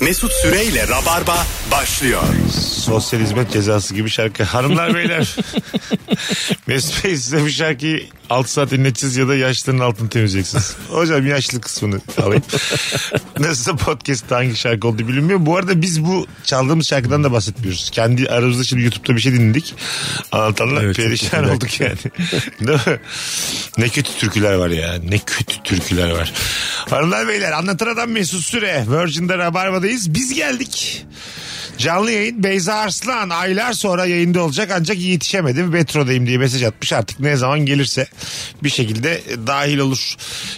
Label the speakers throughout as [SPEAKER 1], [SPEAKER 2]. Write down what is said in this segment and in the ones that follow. [SPEAKER 1] Mesut Süreyle Rabarba başlıyor.
[SPEAKER 2] Sosyal hizmet cezası gibi şarkı. Hanımlar beyler. Mesut Bey size bu şarkıyı 6 saat dinleteceğiz ya da yaşlının altını temizleyeceksiniz. Hocam yaşlı kısmını alayım. Nasıl podcast'ta hangi şarkı oldu bilinmiyor. Bu arada biz bu çaldığımız şarkıdan da bahsetmiyoruz. Kendi aramızda şimdi YouTube'da bir şey dinledik. Anlatanlar
[SPEAKER 3] Evet,
[SPEAKER 2] perişan
[SPEAKER 3] çok
[SPEAKER 2] olduk yani. Değil mi? Ne kötü türküler var ya. Ne kötü türküler var. Hanımlar beyler anlatan adam Mesut Süre. Virgin'de Rabarba'dayız. Biz geldik. Canlı yayın Beyza Arslan aylar sonra yayında olacak ancak yetişemedim metrodayım diye mesaj atmış artık ne zaman gelirse bir şekilde dahil olur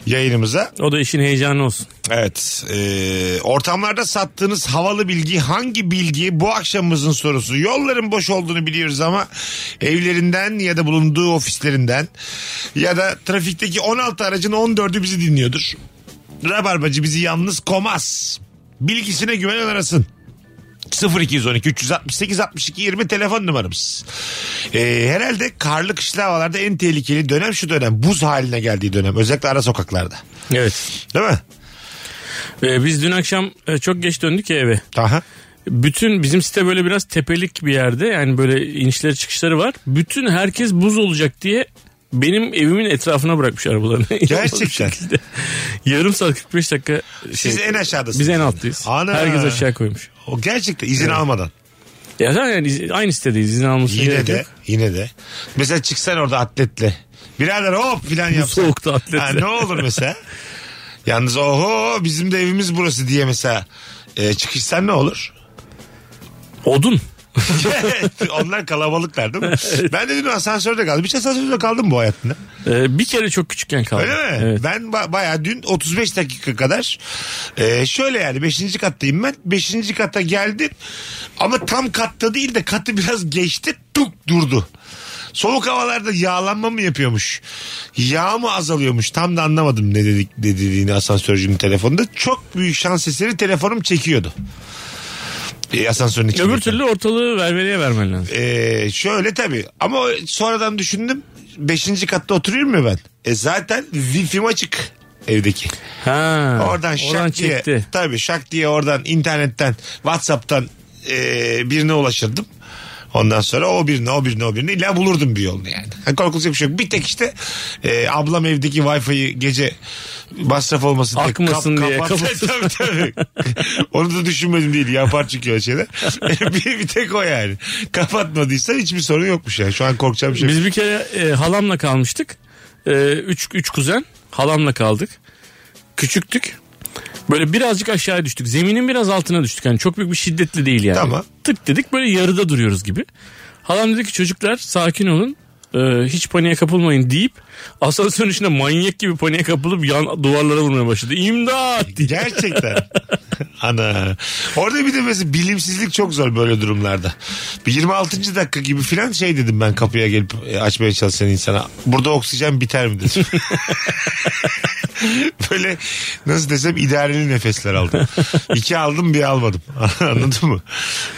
[SPEAKER 2] yayınımıza.
[SPEAKER 3] O da işin heyecanı olsun.
[SPEAKER 2] Evet e, ortamlarda sattığınız havalı bilgi hangi bilgi bu akşamımızın sorusu yolların boş olduğunu biliyoruz ama evlerinden ya da bulunduğu ofislerinden ya da trafikteki 16 aracın 14'ü bizi dinliyordur. Rabarbacı bizi yalnız komaz bilgisine güvenen arasın. 0212 368 62 20 telefon numaramız. Ee, herhalde karlı kışlı havalarda en tehlikeli dönem şu dönem. Buz haline geldiği dönem. Özellikle ara sokaklarda.
[SPEAKER 3] Evet.
[SPEAKER 2] Değil mi?
[SPEAKER 3] Ee, biz dün akşam e, çok geç döndük ya eve.
[SPEAKER 2] Aha.
[SPEAKER 3] Bütün bizim site böyle biraz tepelik bir yerde. Yani böyle inişleri çıkışları var. Bütün herkes buz olacak diye benim evimin etrafına bırakmış arabalarını. İnanılmaz
[SPEAKER 2] Gerçekten.
[SPEAKER 3] şekilde. Yarım saat 45 dakika.
[SPEAKER 2] Siz
[SPEAKER 3] şey-
[SPEAKER 2] en aşağıdasınız.
[SPEAKER 3] Biz en alttayız.
[SPEAKER 2] Ana.
[SPEAKER 3] Herkes aşağı koymuş.
[SPEAKER 2] O gerçekten izin almadan.
[SPEAKER 3] Ya zaten yani iz- aynı sitedeyiz. İzin almasına
[SPEAKER 2] Yine
[SPEAKER 3] gerek
[SPEAKER 2] de
[SPEAKER 3] yok.
[SPEAKER 2] yine de. Mesela çıksan orada atletle. Birader hop filan
[SPEAKER 3] Bu
[SPEAKER 2] yapsan.
[SPEAKER 3] soğukta atletle.
[SPEAKER 2] Ha, ne olur mesela? Yalnız oho bizim de evimiz burası diye mesela e, çıkışsan ne olur?
[SPEAKER 3] Odun.
[SPEAKER 2] Onlar kalabalıklar değil mi? Ben de dün asansörde kaldım. Hiç asansörde kaldım bu hayatımda.
[SPEAKER 3] Ee, bir kere çok küçükken kaldı.
[SPEAKER 2] Öyle mi?
[SPEAKER 3] Evet.
[SPEAKER 2] Ben ba- bayağı dün 35 dakika kadar e, şöyle yani 5. kattayım ben. 5. kata geldim ama tam katta değil de katı biraz geçti tuk durdu. Soğuk havalarda yağlanma mı yapıyormuş? Yağ mı azalıyormuş? Tam da anlamadım ne dedik ne dediğini asansörcünün telefonunda. Çok büyük şans eseri telefonum çekiyordu. E, asansörün içinde.
[SPEAKER 3] Öbür türlü ortalığı vermeliye vermen lazım.
[SPEAKER 2] Ee, şöyle tabii ama sonradan düşündüm. Beşinci katta oturuyorum ya ben. E zaten wifi'm açık evdeki.
[SPEAKER 3] Ha,
[SPEAKER 2] Oradan şak diye.
[SPEAKER 3] çekti.
[SPEAKER 2] Tabii şak diye oradan internetten Whatsapp'tan e, birine ulaşırdım. Ondan sonra o birine o birine o birine illa bulurdum bir yolunu yani. Ha, korkulacak bir şey yok. Bir tek işte e, ablam evdeki Wi-Fi'yi gece masraf olmasın diye.
[SPEAKER 3] Akmasın diye kapattı.
[SPEAKER 2] tabii, tabii. Onu da düşünmedim değil. Yapar çünkü o şeyler. bir, bir tek o yani. Kapatmadıysa hiçbir sorun yokmuş yani. Şu an korkacağım bir şey yok.
[SPEAKER 3] Biz bir kere e, halamla kalmıştık. E, üç, üç kuzen halamla kaldık. Küçüktük. Böyle birazcık aşağı düştük. Zeminin biraz altına düştük. Yani çok büyük bir şiddetli değil yani.
[SPEAKER 2] Tamam.
[SPEAKER 3] Tık dedik böyle yarıda duruyoruz gibi. Halam dedi ki çocuklar sakin olun. E, hiç paniğe kapılmayın deyip asansörün içinde manyak gibi paniğe kapılıp yan duvarlara vurmaya başladı. İmdat diye.
[SPEAKER 2] Gerçekten. Ana. Orada bir de mesela bilimsizlik çok zor böyle durumlarda. Bir 26. dakika gibi filan şey dedim ben kapıya gelip e, açmaya çalışan insana. Burada oksijen biter mi dedim. böyle nasıl desem idareli nefesler aldım. İki aldım bir almadım. Anladın mı?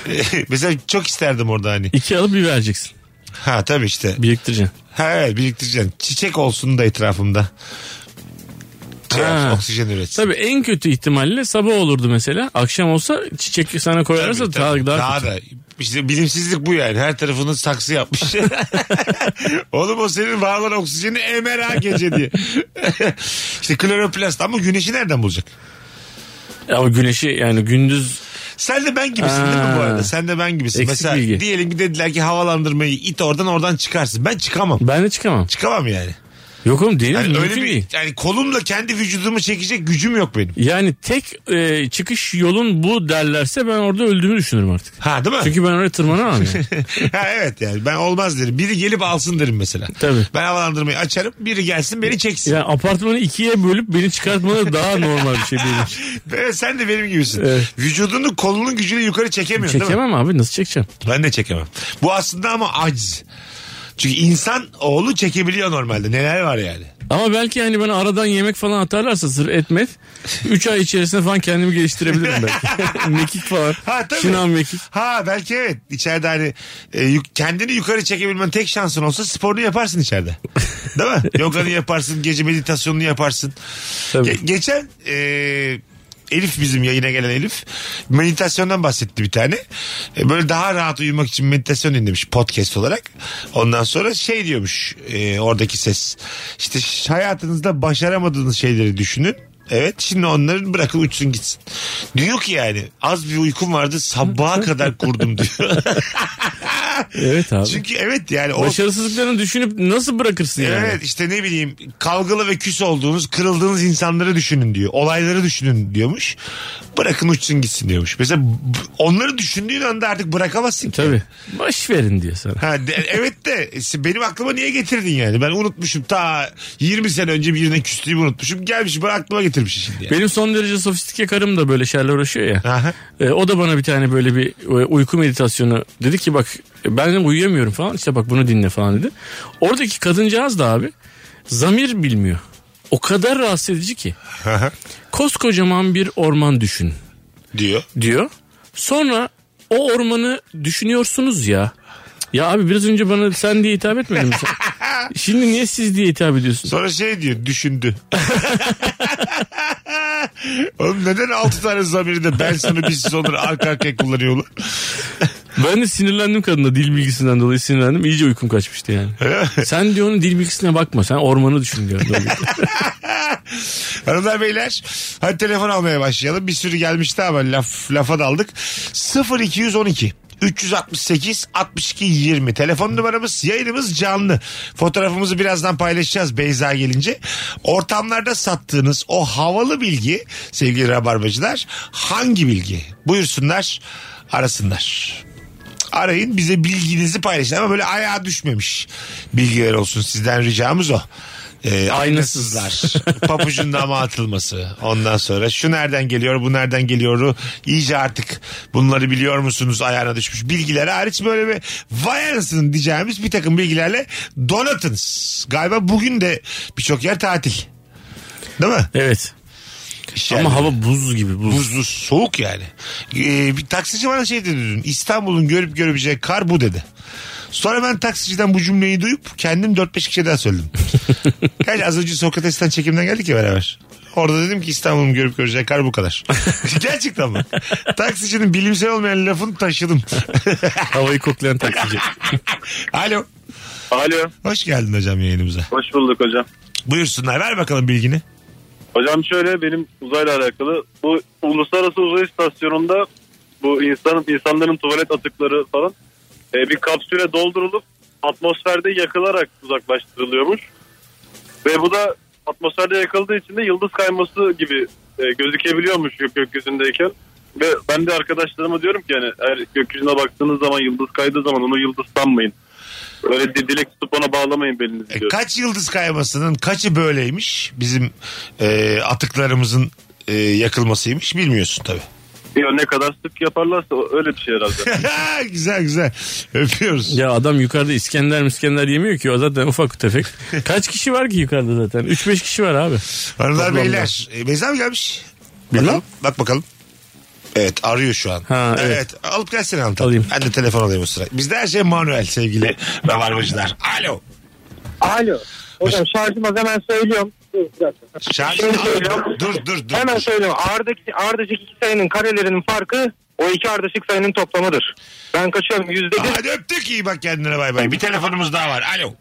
[SPEAKER 2] E, mesela çok isterdim orada hani.
[SPEAKER 3] İki alıp bir vereceksin.
[SPEAKER 2] Ha tabii işte.
[SPEAKER 3] Biriktireceksin.
[SPEAKER 2] Ha evet, biriktireceksin. Çiçek olsun da etrafımda.
[SPEAKER 3] Ha.
[SPEAKER 2] Oksijen üretsin.
[SPEAKER 3] Tabii en kötü ihtimalle sabah olurdu mesela. Akşam olsa çiçek sana koyarsa
[SPEAKER 2] Tabii, tabii.
[SPEAKER 3] daha, daha
[SPEAKER 2] daha da işte bilimsizlik bu yani. Her tarafını saksı yapmış. Oğlum o senin var olan oksijeni emer ha gece diye. işte kloroplast ama güneşi nereden bulacak?
[SPEAKER 3] Ama güneşi yani gündüz
[SPEAKER 2] Sen de ben gibisin değil mi
[SPEAKER 3] Ha.
[SPEAKER 2] bu arada? Sen de ben gibisin.
[SPEAKER 3] Eksik
[SPEAKER 2] Mesela
[SPEAKER 3] bilgi.
[SPEAKER 2] diyelim ki dediler ki havalandırmayı it oradan oradan çıkarsın. Ben çıkamam.
[SPEAKER 3] ben de çıkamam.
[SPEAKER 2] Çıkamam yani.
[SPEAKER 3] Yok oğlum deniz
[SPEAKER 2] Yani
[SPEAKER 3] mümkün
[SPEAKER 2] öyle bir
[SPEAKER 3] değil.
[SPEAKER 2] yani kolumla kendi vücudumu çekecek gücüm yok benim.
[SPEAKER 3] Yani tek e, çıkış yolun bu derlerse ben orada öldüğümü düşünürüm artık.
[SPEAKER 2] Ha değil mi?
[SPEAKER 3] Çünkü ben oraya tırmanamam yani.
[SPEAKER 2] ha evet yani ben olmaz derim. Biri gelip alsın derim mesela.
[SPEAKER 3] Tabii.
[SPEAKER 2] Ben havalandırmayı açarım. Biri gelsin beni çeksin.
[SPEAKER 3] Yani apartmanı ikiye bölüp beni çıkartmaları daha normal bir şey değil.
[SPEAKER 2] Evet sen de benim gibisin.
[SPEAKER 3] Evet.
[SPEAKER 2] Vücudunu kolunun gücüyle yukarı çekemiyorsun değil mi?
[SPEAKER 3] Çekemem abi nasıl çekeceğim?
[SPEAKER 2] Ben de çekemem. Bu aslında ama aciz. Çünkü insan oğlu çekebiliyor normalde. Neler var yani.
[SPEAKER 3] Ama belki yani bana aradan yemek falan atarlarsa sırf etmet 3 ay içerisinde falan kendimi geliştirebilirim belki. mekik falan.
[SPEAKER 2] Ha, tabii.
[SPEAKER 3] Şınav mekik.
[SPEAKER 2] Ha belki evet içeride hani e, yuk- kendini yukarı çekebilmen tek şansın olsa sporunu yaparsın içeride. Değil mi? Yoganı yaparsın, gece meditasyonunu yaparsın.
[SPEAKER 3] Tabii.
[SPEAKER 2] Ge- geçen e, Elif bizim yayına gelen Elif meditasyondan bahsetti bir tane. E, böyle daha rahat uyumak için meditasyon dinlemiş podcast olarak. Ondan sonra şey diyormuş e, oradaki ses. İşte ş- hayatınızda başaramadığınız şeyleri düşünün. Evet şimdi onların bırakın uçsun gitsin. Diyor ki yani az bir uykum vardı sabaha kadar kurdum diyor.
[SPEAKER 3] Evet abi.
[SPEAKER 2] Çünkü evet yani o
[SPEAKER 3] Başarısızlıklarını düşünüp nasıl bırakırsın yani?
[SPEAKER 2] Evet işte ne bileyim kavgalı ve küs olduğunuz kırıldığınız insanları düşünün diyor. Olayları düşünün diyormuş. Bırakın uçsun gitsin diyormuş. Mesela b- onları düşündüğün anda artık bırakamazsın ki.
[SPEAKER 3] Tabii. Baş verin diyor sana.
[SPEAKER 2] Ha, de- evet de işte benim aklıma niye getirdin yani? Ben unutmuşum ta 20 sene önce birine küstüğümü unutmuşum. Gelmiş bana aklıma getirmiş şimdi. Yani.
[SPEAKER 3] Benim son derece sofistike karım da böyle şeylerle uğraşıyor ya.
[SPEAKER 2] Aha.
[SPEAKER 3] E, o da bana bir tane böyle bir e, uyku meditasyonu dedi ki bak e, ben de uyuyamıyorum falan işte bak bunu dinle falan dedi. Oradaki kadıncağız da abi zamir bilmiyor. O kadar rahatsız edici ki.
[SPEAKER 2] Aha.
[SPEAKER 3] Koskocaman bir orman düşün
[SPEAKER 2] diyor.
[SPEAKER 3] diyor. Sonra o ormanı düşünüyorsunuz ya. Ya abi biraz önce bana sen diye hitap etmedin mi sen? Şimdi niye siz diye hitap ediyorsun?
[SPEAKER 2] Sonra şey diyor düşündü. Oğlum neden 6 tane zamiri de ben sana bir siz onları arka arkaya kullanıyorlar?
[SPEAKER 3] Ben de sinirlendim kadına dil bilgisinden dolayı sinirlendim. İyice uykum kaçmıştı yani. sen diyor onun dil bilgisine bakma. Sen ormanı düşün diyor. Böyle.
[SPEAKER 2] Hanımlar beyler hadi telefon almaya başlayalım. Bir sürü gelmişti ama laf, lafa daldık. 0212 368 62 20 telefon numaramız yayınımız canlı fotoğrafımızı birazdan paylaşacağız Beyza gelince ortamlarda sattığınız o havalı bilgi sevgili rabarbacılar hangi bilgi buyursunlar arasınlar arayın bize bilginizi paylaşın ama böyle ayağa düşmemiş bilgiler olsun sizden ricamız o. Ee,
[SPEAKER 3] Aynasız.
[SPEAKER 2] aynasızlar. Papucun dama atılması. Ondan sonra şu nereden geliyor bu nereden geliyoru iyice artık bunları biliyor musunuz ayağına düşmüş bilgiler hariç böyle bir vay anasını diyeceğimiz bir takım bilgilerle donatınız. Galiba bugün de birçok yer tatil. Değil mi?
[SPEAKER 3] Evet.
[SPEAKER 2] İş
[SPEAKER 3] Ama
[SPEAKER 2] yerleri.
[SPEAKER 3] hava buz gibi buz.
[SPEAKER 2] Buzlu soğuk yani. Ee, bir taksici bana şey dedi dün. İstanbul'un görüp görebileceği kar bu dedi. Sonra ben taksiciden bu cümleyi duyup kendim 4-5 kişiye daha söyledim. Gerçi az önce Sokrates'ten çekimden geldik ya beraber. Orada dedim ki İstanbul'un görüp göreceği kar bu kadar. Gerçekten mi? Taksicinin bilimsel olmayan lafını taşıdım.
[SPEAKER 3] Havayı koklayan taksici.
[SPEAKER 2] Alo.
[SPEAKER 4] Alo.
[SPEAKER 2] Hoş geldin hocam yayınımıza.
[SPEAKER 4] Hoş bulduk hocam.
[SPEAKER 2] Buyursunlar ver bakalım bilgini.
[SPEAKER 4] Hocam şöyle benim uzayla alakalı. Bu uluslararası uzay istasyonunda bu insan insanların tuvalet atıkları falan e, bir kapsüle doldurulup atmosferde yakılarak uzaklaştırılıyormuş. Ve bu da atmosferde yakıldığı için de yıldız kayması gibi e, gözükebiliyormuş gök gökyüzündeyken. Ve ben de arkadaşlarıma diyorum ki yani eğer gökyüzüne baktığınız zaman yıldız kaydığı zaman onu yıldız sanmayın. Öyle di- dilek tutup ona bağlamayın belinizi
[SPEAKER 2] E,
[SPEAKER 4] diyorum.
[SPEAKER 2] kaç yıldız kaymasının kaçı böyleymiş bizim e, atıklarımızın e, yakılmasıymış bilmiyorsun tabii.
[SPEAKER 4] Ya ne kadar sık yaparlarsa öyle bir şey herhalde.
[SPEAKER 2] güzel güzel. Öpüyoruz.
[SPEAKER 3] ya adam yukarıda İskender miskender yemiyor ki o zaten ufak tefek. Kaç kişi var ki yukarıda zaten? 3-5 kişi var abi.
[SPEAKER 2] Hanımlar
[SPEAKER 3] Toplamda.
[SPEAKER 2] beyler. E, Beyza mı gelmiş?
[SPEAKER 3] Bilmem.
[SPEAKER 2] Bakalım, bak bakalım. Evet arıyor şu an.
[SPEAKER 3] Ha, evet.
[SPEAKER 2] Alıp gelsene hanım.
[SPEAKER 3] Alayım.
[SPEAKER 2] Ben de telefon alayım o sıra. Bizde her şey manuel sevgili rabarbacılar. Alo.
[SPEAKER 5] Alo. Hocam şarjımız hemen söylüyorum. Dur, bir dakika.
[SPEAKER 2] Şarj...
[SPEAKER 5] Şunu söylüyorum.
[SPEAKER 2] Dur dur dur.
[SPEAKER 5] Hemen
[SPEAKER 2] dur.
[SPEAKER 5] söylüyorum. Ardaki, ardışık iki sayının karelerinin farkı o iki ardışık sayının toplamıdır. Ben kaçıyorum. Yüzde bir.
[SPEAKER 2] Hadi öptük iyi bak kendine bay bay. Bir telefonumuz daha var. Alo.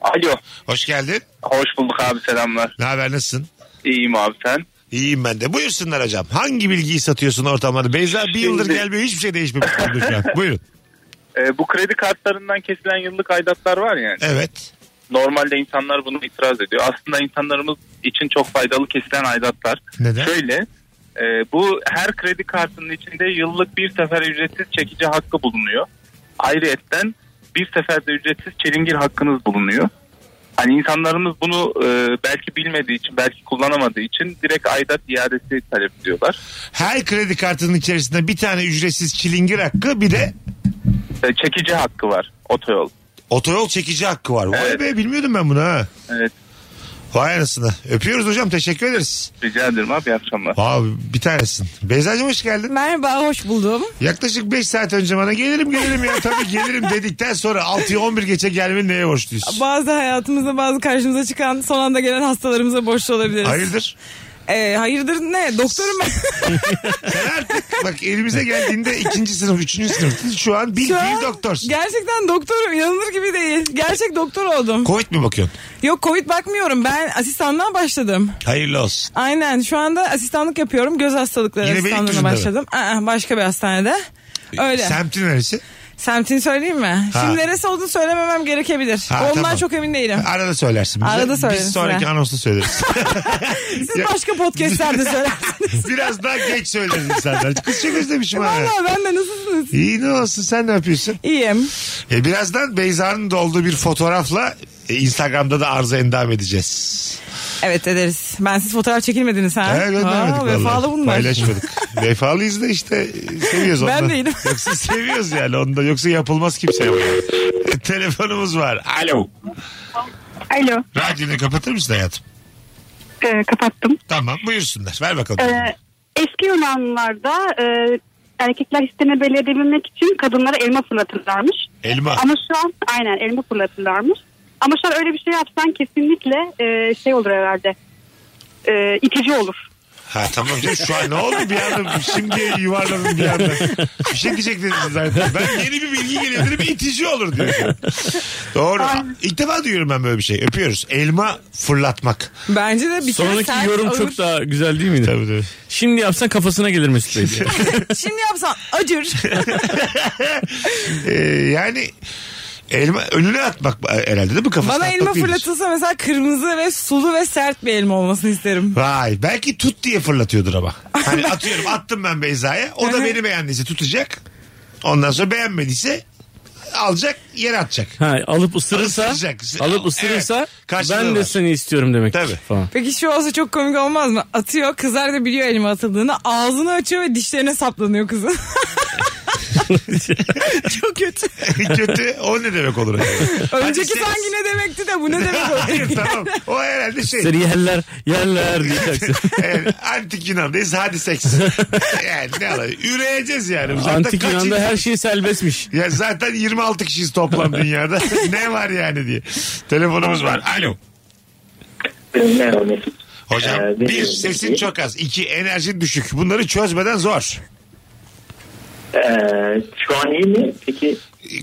[SPEAKER 6] Alo.
[SPEAKER 2] Hoş geldin.
[SPEAKER 6] Hoş bulduk abi selamlar.
[SPEAKER 2] Ne haber nasılsın?
[SPEAKER 6] İyiyim abi sen.
[SPEAKER 2] İyiyim ben de. Buyursunlar hocam. Hangi bilgiyi satıyorsun ortamlarda? Beyza bir yıldır
[SPEAKER 6] Şimdi-
[SPEAKER 2] gelmiyor. Hiçbir şey değişmemiş. durumda şu an. Buyurun.
[SPEAKER 6] Ee, bu kredi kartlarından kesilen yıllık aidatlar var yani.
[SPEAKER 2] Evet.
[SPEAKER 6] Normalde insanlar bunu itiraz ediyor. Aslında insanlarımız için çok faydalı kesilen aidatlar.
[SPEAKER 2] Neden?
[SPEAKER 6] Şöyle e, bu her kredi kartının içinde yıllık bir sefer ücretsiz çekici hakkı bulunuyor. Ayrıyeten bir seferde ücretsiz çilingir hakkınız bulunuyor. Hani insanlarımız bunu e, belki bilmediği için, belki kullanamadığı için direkt aidat iadesi talep ediyorlar.
[SPEAKER 2] Her kredi kartının içerisinde bir tane ücretsiz çilingir hakkı bir de
[SPEAKER 6] E, çekici hakkı var otoyol.
[SPEAKER 2] Otoyol çekici hakkı var. Vay
[SPEAKER 6] Evet.
[SPEAKER 2] be bilmiyordum ben bunu ha.
[SPEAKER 6] Evet.
[SPEAKER 2] Vay anasını. Öpüyoruz hocam teşekkür ederiz.
[SPEAKER 6] Rica ederim abi iyi akşamlar.
[SPEAKER 2] Abi bir tanesin. Beyza'cığım hoş geldin.
[SPEAKER 7] Merhaba hoş buldum.
[SPEAKER 2] Yaklaşık 5 saat önce bana gelirim gelirim ya tabii gelirim dedikten sonra 6'ya 11 geçe gelmenin neye borçluyuz?
[SPEAKER 7] Bazı hayatımızda bazı karşımıza çıkan son anda gelen hastalarımıza borçlu olabiliriz.
[SPEAKER 2] Hayırdır?
[SPEAKER 7] Ee, hayırdır ne? Doktorum ben.
[SPEAKER 2] Sen artık bak elimize geldiğinde ikinci sınıf, üçüncü sınıf. Şu an bil
[SPEAKER 7] Şu an
[SPEAKER 2] bil doktorsun.
[SPEAKER 7] Gerçekten doktorum inanılır gibi değil. Gerçek doktor oldum.
[SPEAKER 2] Covid mi bakıyorsun?
[SPEAKER 7] Yok covid bakmıyorum ben asistanlığa başladım.
[SPEAKER 2] Hayırlı olsun.
[SPEAKER 7] Aynen şu anda asistanlık yapıyorum. Göz hastalıkları
[SPEAKER 2] Yine
[SPEAKER 7] asistanlığına
[SPEAKER 2] Beylikdüzü'nde mi?
[SPEAKER 7] başladım. Aa, başka bir hastanede. Öyle.
[SPEAKER 2] Semtin neresi?
[SPEAKER 7] Semtini söyleyeyim mi?
[SPEAKER 2] Ha.
[SPEAKER 7] Şimdi neresi olduğunu söylememem gerekebilir.
[SPEAKER 2] Ha,
[SPEAKER 7] Ondan
[SPEAKER 2] tamam.
[SPEAKER 7] çok emin değilim.
[SPEAKER 2] Arada söylersin bize.
[SPEAKER 7] Arada söylerim
[SPEAKER 2] Biz sonraki
[SPEAKER 7] size.
[SPEAKER 2] anonsu söyleriz.
[SPEAKER 7] Siz başka podcastlerde söylersiniz.
[SPEAKER 2] Biraz daha geç söyleriz insanlar. Kız çok özlemişim ha.
[SPEAKER 7] Valla ben de nasılsınız?
[SPEAKER 2] İyi ne olsun sen ne yapıyorsun?
[SPEAKER 7] İyiyim.
[SPEAKER 2] E, birazdan Beyza'nın da olduğu bir fotoğrafla e, Instagram'da da arıza endam edeceğiz.
[SPEAKER 7] Evet ederiz. Ben siz fotoğraf çekilmediniz ha?
[SPEAKER 2] Evet göndermedik
[SPEAKER 7] Aa,
[SPEAKER 2] vallahi.
[SPEAKER 7] Vefalı bunlar.
[SPEAKER 2] Paylaşmadık. Vefalıyız da işte e, seviyoruz
[SPEAKER 7] Ben
[SPEAKER 2] ondan.
[SPEAKER 7] değilim.
[SPEAKER 2] Yoksa seviyoruz yani onda. Yoksa yapılmaz kimseye. bu. Telefonumuz var. Alo.
[SPEAKER 8] Alo,
[SPEAKER 2] Radyonu kapatır mısın hayatım?
[SPEAKER 8] e, kapattım.
[SPEAKER 2] Tamam buyursunlar. Ver bakalım.
[SPEAKER 8] E, eski Yunanlarda e, erkekler hislerini belli edebilmek için kadınlara elma fırlatırlarmış.
[SPEAKER 2] Elma.
[SPEAKER 8] Ama şu an aynen elma fırlatırlarmış. Ama şu an öyle bir şey yapsan kesinlikle e, şey olur herhalde. E, itici olur.
[SPEAKER 2] Ha tamam canım şu an ne oldu bir anda şimdi yuvarladım bir anda. Bir şey diyecektiniz zaten. Ben yeni bir bilgi geliyor dedim itici olur diyor. Doğru.
[SPEAKER 8] Aynen.
[SPEAKER 2] İlk defa duyuyorum ben böyle bir şey. Öpüyoruz. Elma fırlatmak.
[SPEAKER 7] Bence de bir kere sen
[SPEAKER 3] Sonraki yorum
[SPEAKER 7] ağır-
[SPEAKER 3] çok daha güzel değil miydi?
[SPEAKER 2] Tabii tabii.
[SPEAKER 3] Şimdi yapsan kafasına gelir Mesut Bey. diye.
[SPEAKER 7] Şimdi yapsan acır.
[SPEAKER 2] Ee, yani elma önüne atmak herhalde değil mi kafasına
[SPEAKER 7] Bana
[SPEAKER 2] atmak
[SPEAKER 7] elma
[SPEAKER 2] değildir.
[SPEAKER 7] fırlatılsa mesela kırmızı ve sulu ve sert bir elma olmasını isterim.
[SPEAKER 2] Vay belki tut diye fırlatıyordur ama. Hani atıyorum attım ben Beyza'ya. O da beni beğendiyse tutacak. Ondan sonra beğenmediyse alacak yere atacak.
[SPEAKER 3] Ha, alıp ısırırsa,
[SPEAKER 2] Isıracak.
[SPEAKER 3] alıp ısırırsa
[SPEAKER 2] Evet. Karşılığı
[SPEAKER 3] ben
[SPEAKER 2] var.
[SPEAKER 3] de seni istiyorum demek.
[SPEAKER 2] Tabii.
[SPEAKER 3] Falan.
[SPEAKER 7] Peki şu olsa çok komik olmaz mı? Atıyor kızlar da biliyor elma atıldığını. Ağzını açıyor ve dişlerine saplanıyor kızın. çok kötü.
[SPEAKER 2] Kötü o ne demek olur? acaba?
[SPEAKER 7] Önceki
[SPEAKER 2] Hadi
[SPEAKER 7] sanki ne demekti de bu ne demek
[SPEAKER 2] Hayır
[SPEAKER 7] oldu?
[SPEAKER 2] tamam. O herhalde şey.
[SPEAKER 3] Seni yerler, yerler diyeceksin.
[SPEAKER 2] Yani antik Yunan'dayız hadi seks. Yani ne ala Üreyeceğiz yani. Zaten
[SPEAKER 3] Antik
[SPEAKER 2] kaç
[SPEAKER 3] Yunan'da
[SPEAKER 2] insan-
[SPEAKER 3] her şey serbestmiş.
[SPEAKER 2] Ya zaten 26 kişiyiz toplam dünyada. ne var yani diye. Telefonumuz var. Alo.
[SPEAKER 9] Merhaba Mesut.
[SPEAKER 2] Hocam
[SPEAKER 9] Ee,
[SPEAKER 2] bir
[SPEAKER 9] benim
[SPEAKER 2] sesin
[SPEAKER 9] bildiğim-
[SPEAKER 2] çok az. iki enerjin düşük. Bunları çözmeden zor.
[SPEAKER 9] Ee, şu an iyi mi? Peki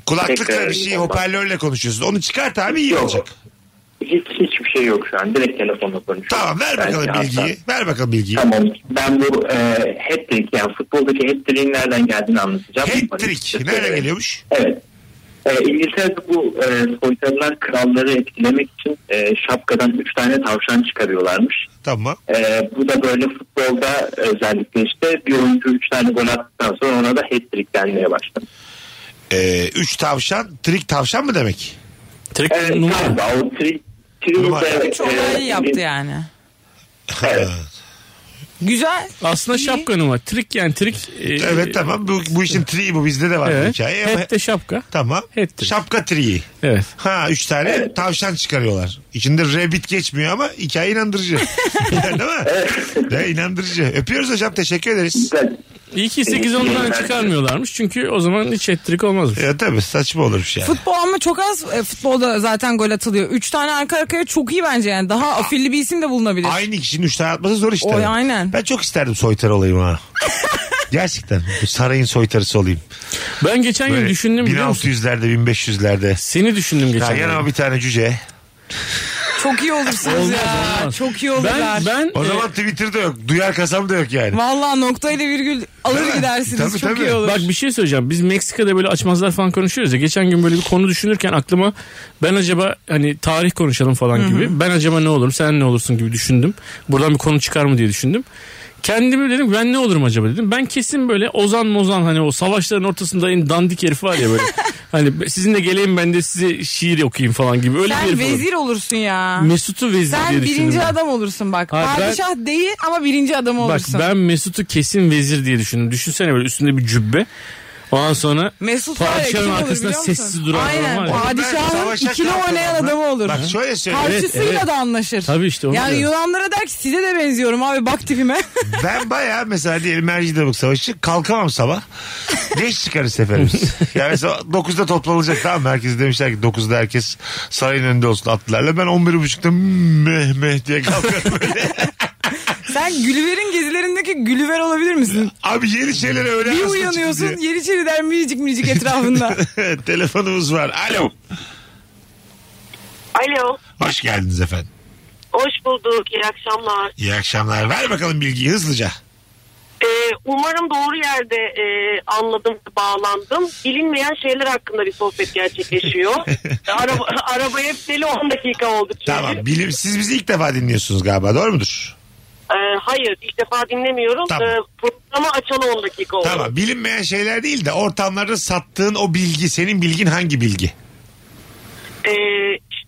[SPEAKER 2] Kulaklıkla
[SPEAKER 9] Tekrar
[SPEAKER 2] bir şeyi
[SPEAKER 9] iyi olmak.
[SPEAKER 2] hoparlörle konuşuyorsun. Onu çıkart abi iyi olacak.
[SPEAKER 9] hiç hiçbir şey yok şu an. Direkt telefonla konuşuyorum.
[SPEAKER 2] Tamam ver
[SPEAKER 9] Belki
[SPEAKER 2] bakalım
[SPEAKER 9] hasta.
[SPEAKER 2] bilgiyi. Ver bakalım bilgiyi.
[SPEAKER 9] Tamam. Ben bu e, hat-trick yani futboldaki hat-trick'in nereden geldiğini anlatacağım.
[SPEAKER 2] Hat-trick. Nereden geliyormuş?
[SPEAKER 9] Evet. E, İngiltere'de bu e, soytarılar kralları etkilemek için e, şapkadan 3 tane tavşan çıkarıyorlarmış.
[SPEAKER 2] Tamam.
[SPEAKER 9] E, bu da böyle futbolda özellikle işte bir oyuncu 3 tane gol attıktan sonra ona da hat-trick denmeye başladı.
[SPEAKER 2] Ee, üç tavşan. Trik tavşan mı demek?
[SPEAKER 3] Tek
[SPEAKER 9] Evet,
[SPEAKER 3] numara.
[SPEAKER 9] galiba o tri, tri
[SPEAKER 2] Numara.
[SPEAKER 7] Çok iyi yaptı yani.
[SPEAKER 9] Evet.
[SPEAKER 7] Güzel.
[SPEAKER 3] Aslında
[SPEAKER 7] İyi.
[SPEAKER 3] şapka numara. Trik yani trik. e,
[SPEAKER 2] Evet tamam bu, bu işin triği bu bizde de var bu
[SPEAKER 3] Evet.
[SPEAKER 2] hikaye. Ama-
[SPEAKER 3] Hep de şapka.
[SPEAKER 2] Tamam.
[SPEAKER 3] Hat trick.
[SPEAKER 2] Şapka triği.
[SPEAKER 3] Evet.
[SPEAKER 2] Ha üç tane tavşan çıkarıyorlar. İçinde rabbit geçmiyor ama hikaye inandırıcı. Değil mi? Ya, inandırıcı. Öpüyoruz hocam teşekkür ederiz.
[SPEAKER 9] Güzel.
[SPEAKER 3] İyi ki 8-10'dan çıkarmıyorlarmış. Çünkü o zaman hiç hat trick olmazmış.
[SPEAKER 2] Ya tabii saçma olurmuş yani.
[SPEAKER 7] Futbol ama çok az e, futbolda zaten gol atılıyor. Üç tane arka arkaya çok iyi bence yani. Daha afilli bir isim de bulunabilir.
[SPEAKER 2] Aynı kişinin üç tane atması zor işte.
[SPEAKER 7] Oy, aynen.
[SPEAKER 2] Ben çok isterdim soytarı olayım ha. Gerçekten bu sarayın soytarısı olayım.
[SPEAKER 3] Ben geçen gün
[SPEAKER 2] Böyle
[SPEAKER 3] düşündüm biliyor musun?
[SPEAKER 2] 1600'lerde 1500'lerde.
[SPEAKER 3] Seni düşündüm
[SPEAKER 2] Ya
[SPEAKER 3] geçen gün.
[SPEAKER 2] yanıma bir tane cüce.
[SPEAKER 7] Çok iyi olursunuz
[SPEAKER 3] Olmaz,
[SPEAKER 7] ya.
[SPEAKER 3] olmaz.
[SPEAKER 7] Çok iyi olurlar.
[SPEAKER 3] Ben, ben
[SPEAKER 2] O
[SPEAKER 7] Ee,
[SPEAKER 3] e,
[SPEAKER 2] zaman Twitter'da yok. Duyar kasam da yok yani.
[SPEAKER 7] Vallahi nokta ile virgül
[SPEAKER 2] Değil
[SPEAKER 7] alır
[SPEAKER 2] mi?
[SPEAKER 7] gidersiniz.
[SPEAKER 2] Tabii,
[SPEAKER 7] çok
[SPEAKER 2] tabii.
[SPEAKER 7] iyi olur.
[SPEAKER 3] Bak bir şey söyleyeceğim. Biz Meksika'da böyle açmazlar falan konuşuyoruz ya. Geçen gün böyle bir konu düşünürken aklıma ben acaba hani tarih konuşalım falan gibi. Ben acaba ne olurum sen ne olursun gibi düşündüm. Buradan bir konu çıkar mı diye düşündüm. Kendimi dedim ben ne olurum acaba dedim. Ben kesin böyle Ozan Mozan hani o savaşların ortasında en dandik herif var ya böyle. hani sizinle geleyim ben de size şiir okuyayım falan gibi. Öyle bir
[SPEAKER 7] Sen
[SPEAKER 3] herif olurum.
[SPEAKER 7] vezir olursun ya.
[SPEAKER 3] Mesut'u vezir diye
[SPEAKER 7] Sen
[SPEAKER 3] düşündüm.
[SPEAKER 7] birinci
[SPEAKER 3] ben.
[SPEAKER 7] adam olursun bak.
[SPEAKER 3] Hayır, ben-
[SPEAKER 7] Padişah değil ama birinci adam
[SPEAKER 3] Bak
[SPEAKER 7] olursun.
[SPEAKER 3] ben Mesut'u kesin vezir diye düşündüm. Düşünsene böyle üstünde bir cübbe. Ondan sonra
[SPEAKER 7] Mesut var ya, kim
[SPEAKER 3] padişahın
[SPEAKER 7] olur
[SPEAKER 3] arkasında
[SPEAKER 7] biliyor musun?
[SPEAKER 3] sessiz duran
[SPEAKER 7] Aynen.
[SPEAKER 3] adam var ya.
[SPEAKER 7] Padişahın
[SPEAKER 2] savaşa
[SPEAKER 7] ikili
[SPEAKER 2] kalkan
[SPEAKER 7] oynayan
[SPEAKER 2] adam.
[SPEAKER 7] adamı olur.
[SPEAKER 2] Bak şey- şöyle söyleyeyim.
[SPEAKER 7] Karşısıyla
[SPEAKER 3] Evet, evet.
[SPEAKER 7] da anlaşır.
[SPEAKER 3] Tabii işte onu
[SPEAKER 7] Yani
[SPEAKER 3] diyorum.
[SPEAKER 7] Yunanlara der ki size de benziyorum abi bak tipime.
[SPEAKER 2] Ben bayağı mesela diyelim Ercidemek Savaşı kalkamam sabah. Geç çıkarız seferimiz. yani mesela 9'da toplanılacak tamam mı? Herkes demişler ki 9'da herkes sarayın önünde olsun atlılarla. Ben 11.30'da meh meh diye kalkarım böyle.
[SPEAKER 7] Sen Gülüver'in gezilerindeki Gülüver olabilir misin?
[SPEAKER 2] Abi yeni şeyler öğrenmesin.
[SPEAKER 7] Bir uyanıyorsun Yeniçeri der minicik minicik etrafında.
[SPEAKER 2] Telefonumuz var. Alo.
[SPEAKER 8] Alo.
[SPEAKER 2] Hoş geldiniz efendim.
[SPEAKER 8] Hoş bulduk. İyi akşamlar.
[SPEAKER 2] İyi akşamlar. Ver bakalım bilgiyi hızlıca.
[SPEAKER 8] Ee, umarım doğru yerde e, anladım, bağlandım. Bilinmeyen şeyler hakkında bir sohbet gerçekleşiyor. Araba, arabaya deli 10 dakika oldu çünkü.
[SPEAKER 2] Tamam. Bilim, siz bizi ilk defa dinliyorsunuz galiba. Doğru mudur?
[SPEAKER 8] Ee, hayır, ilk defa dinlemiyorum.
[SPEAKER 2] Tamam.
[SPEAKER 8] Ee, programı açalı 10 dakika oldu.
[SPEAKER 2] Tamam. Bilinmeyen şeyler değil de ortamlarda sattığın o bilgi. Senin bilgin hangi bilgi?
[SPEAKER 8] Ee,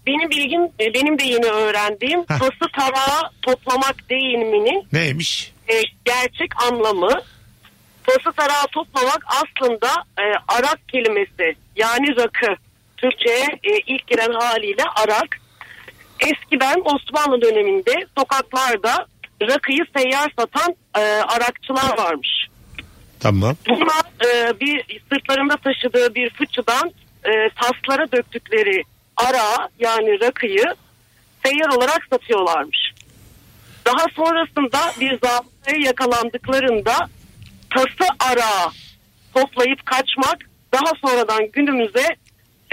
[SPEAKER 8] benim bilgim, e, benim de yeni öğrendiğim
[SPEAKER 2] Heh.
[SPEAKER 8] tası tarağı toplamak deyiminin
[SPEAKER 2] Neymiş?
[SPEAKER 8] e, gerçek anlamı tası tarağı toplamak aslında e, arak kelimesi yani rakı. Türkçe'ye e, ilk giren haliyle arak. Eskiden Osmanlı döneminde sokaklarda rakıyı seyyar satan e, arakçılar varmış.
[SPEAKER 2] Tamam.
[SPEAKER 8] Bunlar e, bir sırtlarında taşıdığı bir fıçıdan e, taslara döktükleri ara yani rakıyı seyyar olarak satıyorlarmış. Daha sonrasında bir zabıtaya yakalandıklarında tası ara toplayıp kaçmak daha sonradan günümüze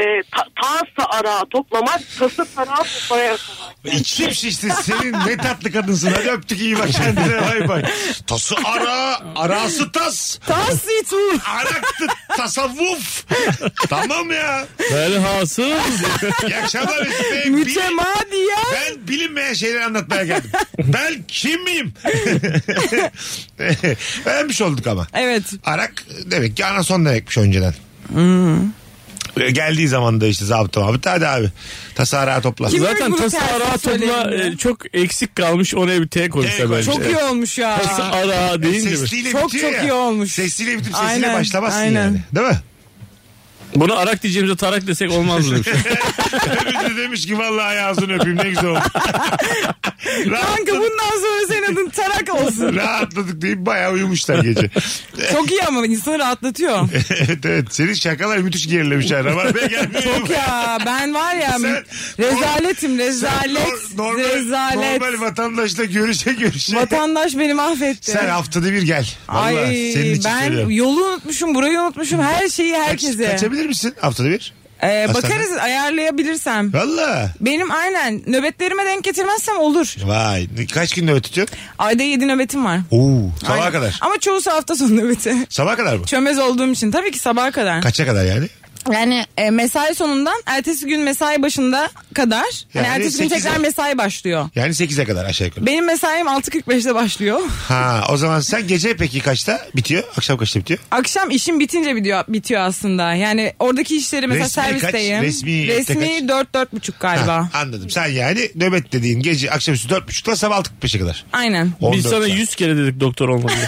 [SPEAKER 8] e, ta- tası ara toplamak tası tarağı toplayarak
[SPEAKER 2] İçim şişti. Senin ne tatlı kadınsın. Hadi öptük iyi bak kendine. Bay bay. Tası ara. Arası tas.
[SPEAKER 7] Tahsitu.
[SPEAKER 2] Araktı tasavvuf. tamam ya.
[SPEAKER 3] Velhasıl
[SPEAKER 2] İyi akşamlar Mesut Bey. Bilim-
[SPEAKER 7] Mütemadiyen.
[SPEAKER 2] Ben bilinmeyen şeyleri anlatmaya geldim. ben kim miyim? Öğrenmiş olduk ama.
[SPEAKER 7] Evet.
[SPEAKER 2] Arak demek ki anason demekmiş önceden. Ee, Geldiği zaman da işte zabıta mabıta hadi abi. Tasarrağı topla.
[SPEAKER 7] Kim- Bilmiyorum
[SPEAKER 3] Zaten
[SPEAKER 7] bunu
[SPEAKER 3] tası
[SPEAKER 7] tersi
[SPEAKER 3] ara topla
[SPEAKER 7] söyleyelim ya.
[SPEAKER 3] e, çok eksik kalmış oraya bir T
[SPEAKER 2] T
[SPEAKER 3] koysa
[SPEAKER 2] koy.
[SPEAKER 3] bence.
[SPEAKER 7] Çok iyi olmuş ya.
[SPEAKER 3] Tası ara deyince mi?
[SPEAKER 2] Sesliyle
[SPEAKER 7] Çok
[SPEAKER 2] bitiyor
[SPEAKER 7] çok
[SPEAKER 2] ya.
[SPEAKER 7] iyi olmuş.
[SPEAKER 2] Sesliyle bitip sesiyle
[SPEAKER 7] Aynen,
[SPEAKER 2] başlamazsın
[SPEAKER 7] aynen.
[SPEAKER 2] yani. Değil mi?
[SPEAKER 3] Bunu arak diyeceğimize tarak desek olmaz mı demiş.
[SPEAKER 2] Öbürü de demiş ki vallahi ayağını öpeyim ne güzel oldu.
[SPEAKER 7] Kanka
[SPEAKER 2] Rahatladık,
[SPEAKER 7] bundan sonra senin adın Tarak olsun.
[SPEAKER 2] rahatladık deyip bayağı uyumuşlar gece.
[SPEAKER 7] Çok iyi ama insanı rahatlatıyor.
[SPEAKER 2] evet evet senin şakalar müthiş gerilemiş. ha. Rabarbaya gelmiyor.
[SPEAKER 7] Çok ya ben var ya
[SPEAKER 2] Sen-
[SPEAKER 7] rezaletim rezalet
[SPEAKER 2] Nor- normal,
[SPEAKER 7] rezalet.
[SPEAKER 2] normal vatandaşla görüşe görüşe.
[SPEAKER 7] Vatandaş beni mahvetti.
[SPEAKER 2] Sen haftada bir gel. Vallahi senin
[SPEAKER 7] Ay
[SPEAKER 2] için
[SPEAKER 7] ben
[SPEAKER 2] söylüyorum.
[SPEAKER 7] yolu unutmuşum burayı unutmuşum her şeyi
[SPEAKER 2] Kaç-
[SPEAKER 7] herkese.
[SPEAKER 2] kaçabilir misin haftada bir?
[SPEAKER 7] Ee,
[SPEAKER 2] Hastane.
[SPEAKER 7] bakarız ayarlayabilirsem.
[SPEAKER 2] Valla.
[SPEAKER 7] Benim aynen nöbetlerime denk getirmezsem olur.
[SPEAKER 2] Vay kaç gün nöbet tutuyorsun?
[SPEAKER 7] Ayda 7 nöbetim var.
[SPEAKER 2] Oo, sabaha
[SPEAKER 7] Aynen.
[SPEAKER 2] kadar.
[SPEAKER 7] Ama çoğusu hafta sonu nöbeti.
[SPEAKER 2] Sabaha kadar mı?
[SPEAKER 7] Çömez olduğum için tabii ki sabaha kadar.
[SPEAKER 2] Kaça kadar yani?
[SPEAKER 7] Yani e, mesai sonundan ertesi gün mesai başında kadar. Yani
[SPEAKER 2] Yani
[SPEAKER 7] ertesi gün
[SPEAKER 2] sekize-
[SPEAKER 7] tekrar mesai başlıyor.
[SPEAKER 2] Yani 8'e kadar aşağı yukarı.
[SPEAKER 7] Benim mesaim 6.45'te başlıyor.
[SPEAKER 2] Ha o zaman sen gece peki kaçta bitiyor? Akşam kaçta bitiyor?
[SPEAKER 7] Akşam işim bitince bitiyor, bitiyor aslında. Yani oradaki işleri mesela
[SPEAKER 2] Resmi kaç?
[SPEAKER 7] servisteyim.
[SPEAKER 2] Resmi yette kaç?
[SPEAKER 7] Resmi dört dört buçuk galiba.
[SPEAKER 2] Ha, anladım. Sen yani nöbet dediğin gece akşamüstü 4.30'da sabah 6.45'e kadar.
[SPEAKER 7] Aynen.
[SPEAKER 2] 14
[SPEAKER 3] Biz sana
[SPEAKER 2] saat.
[SPEAKER 3] 100 kere dedik doktor olmadı.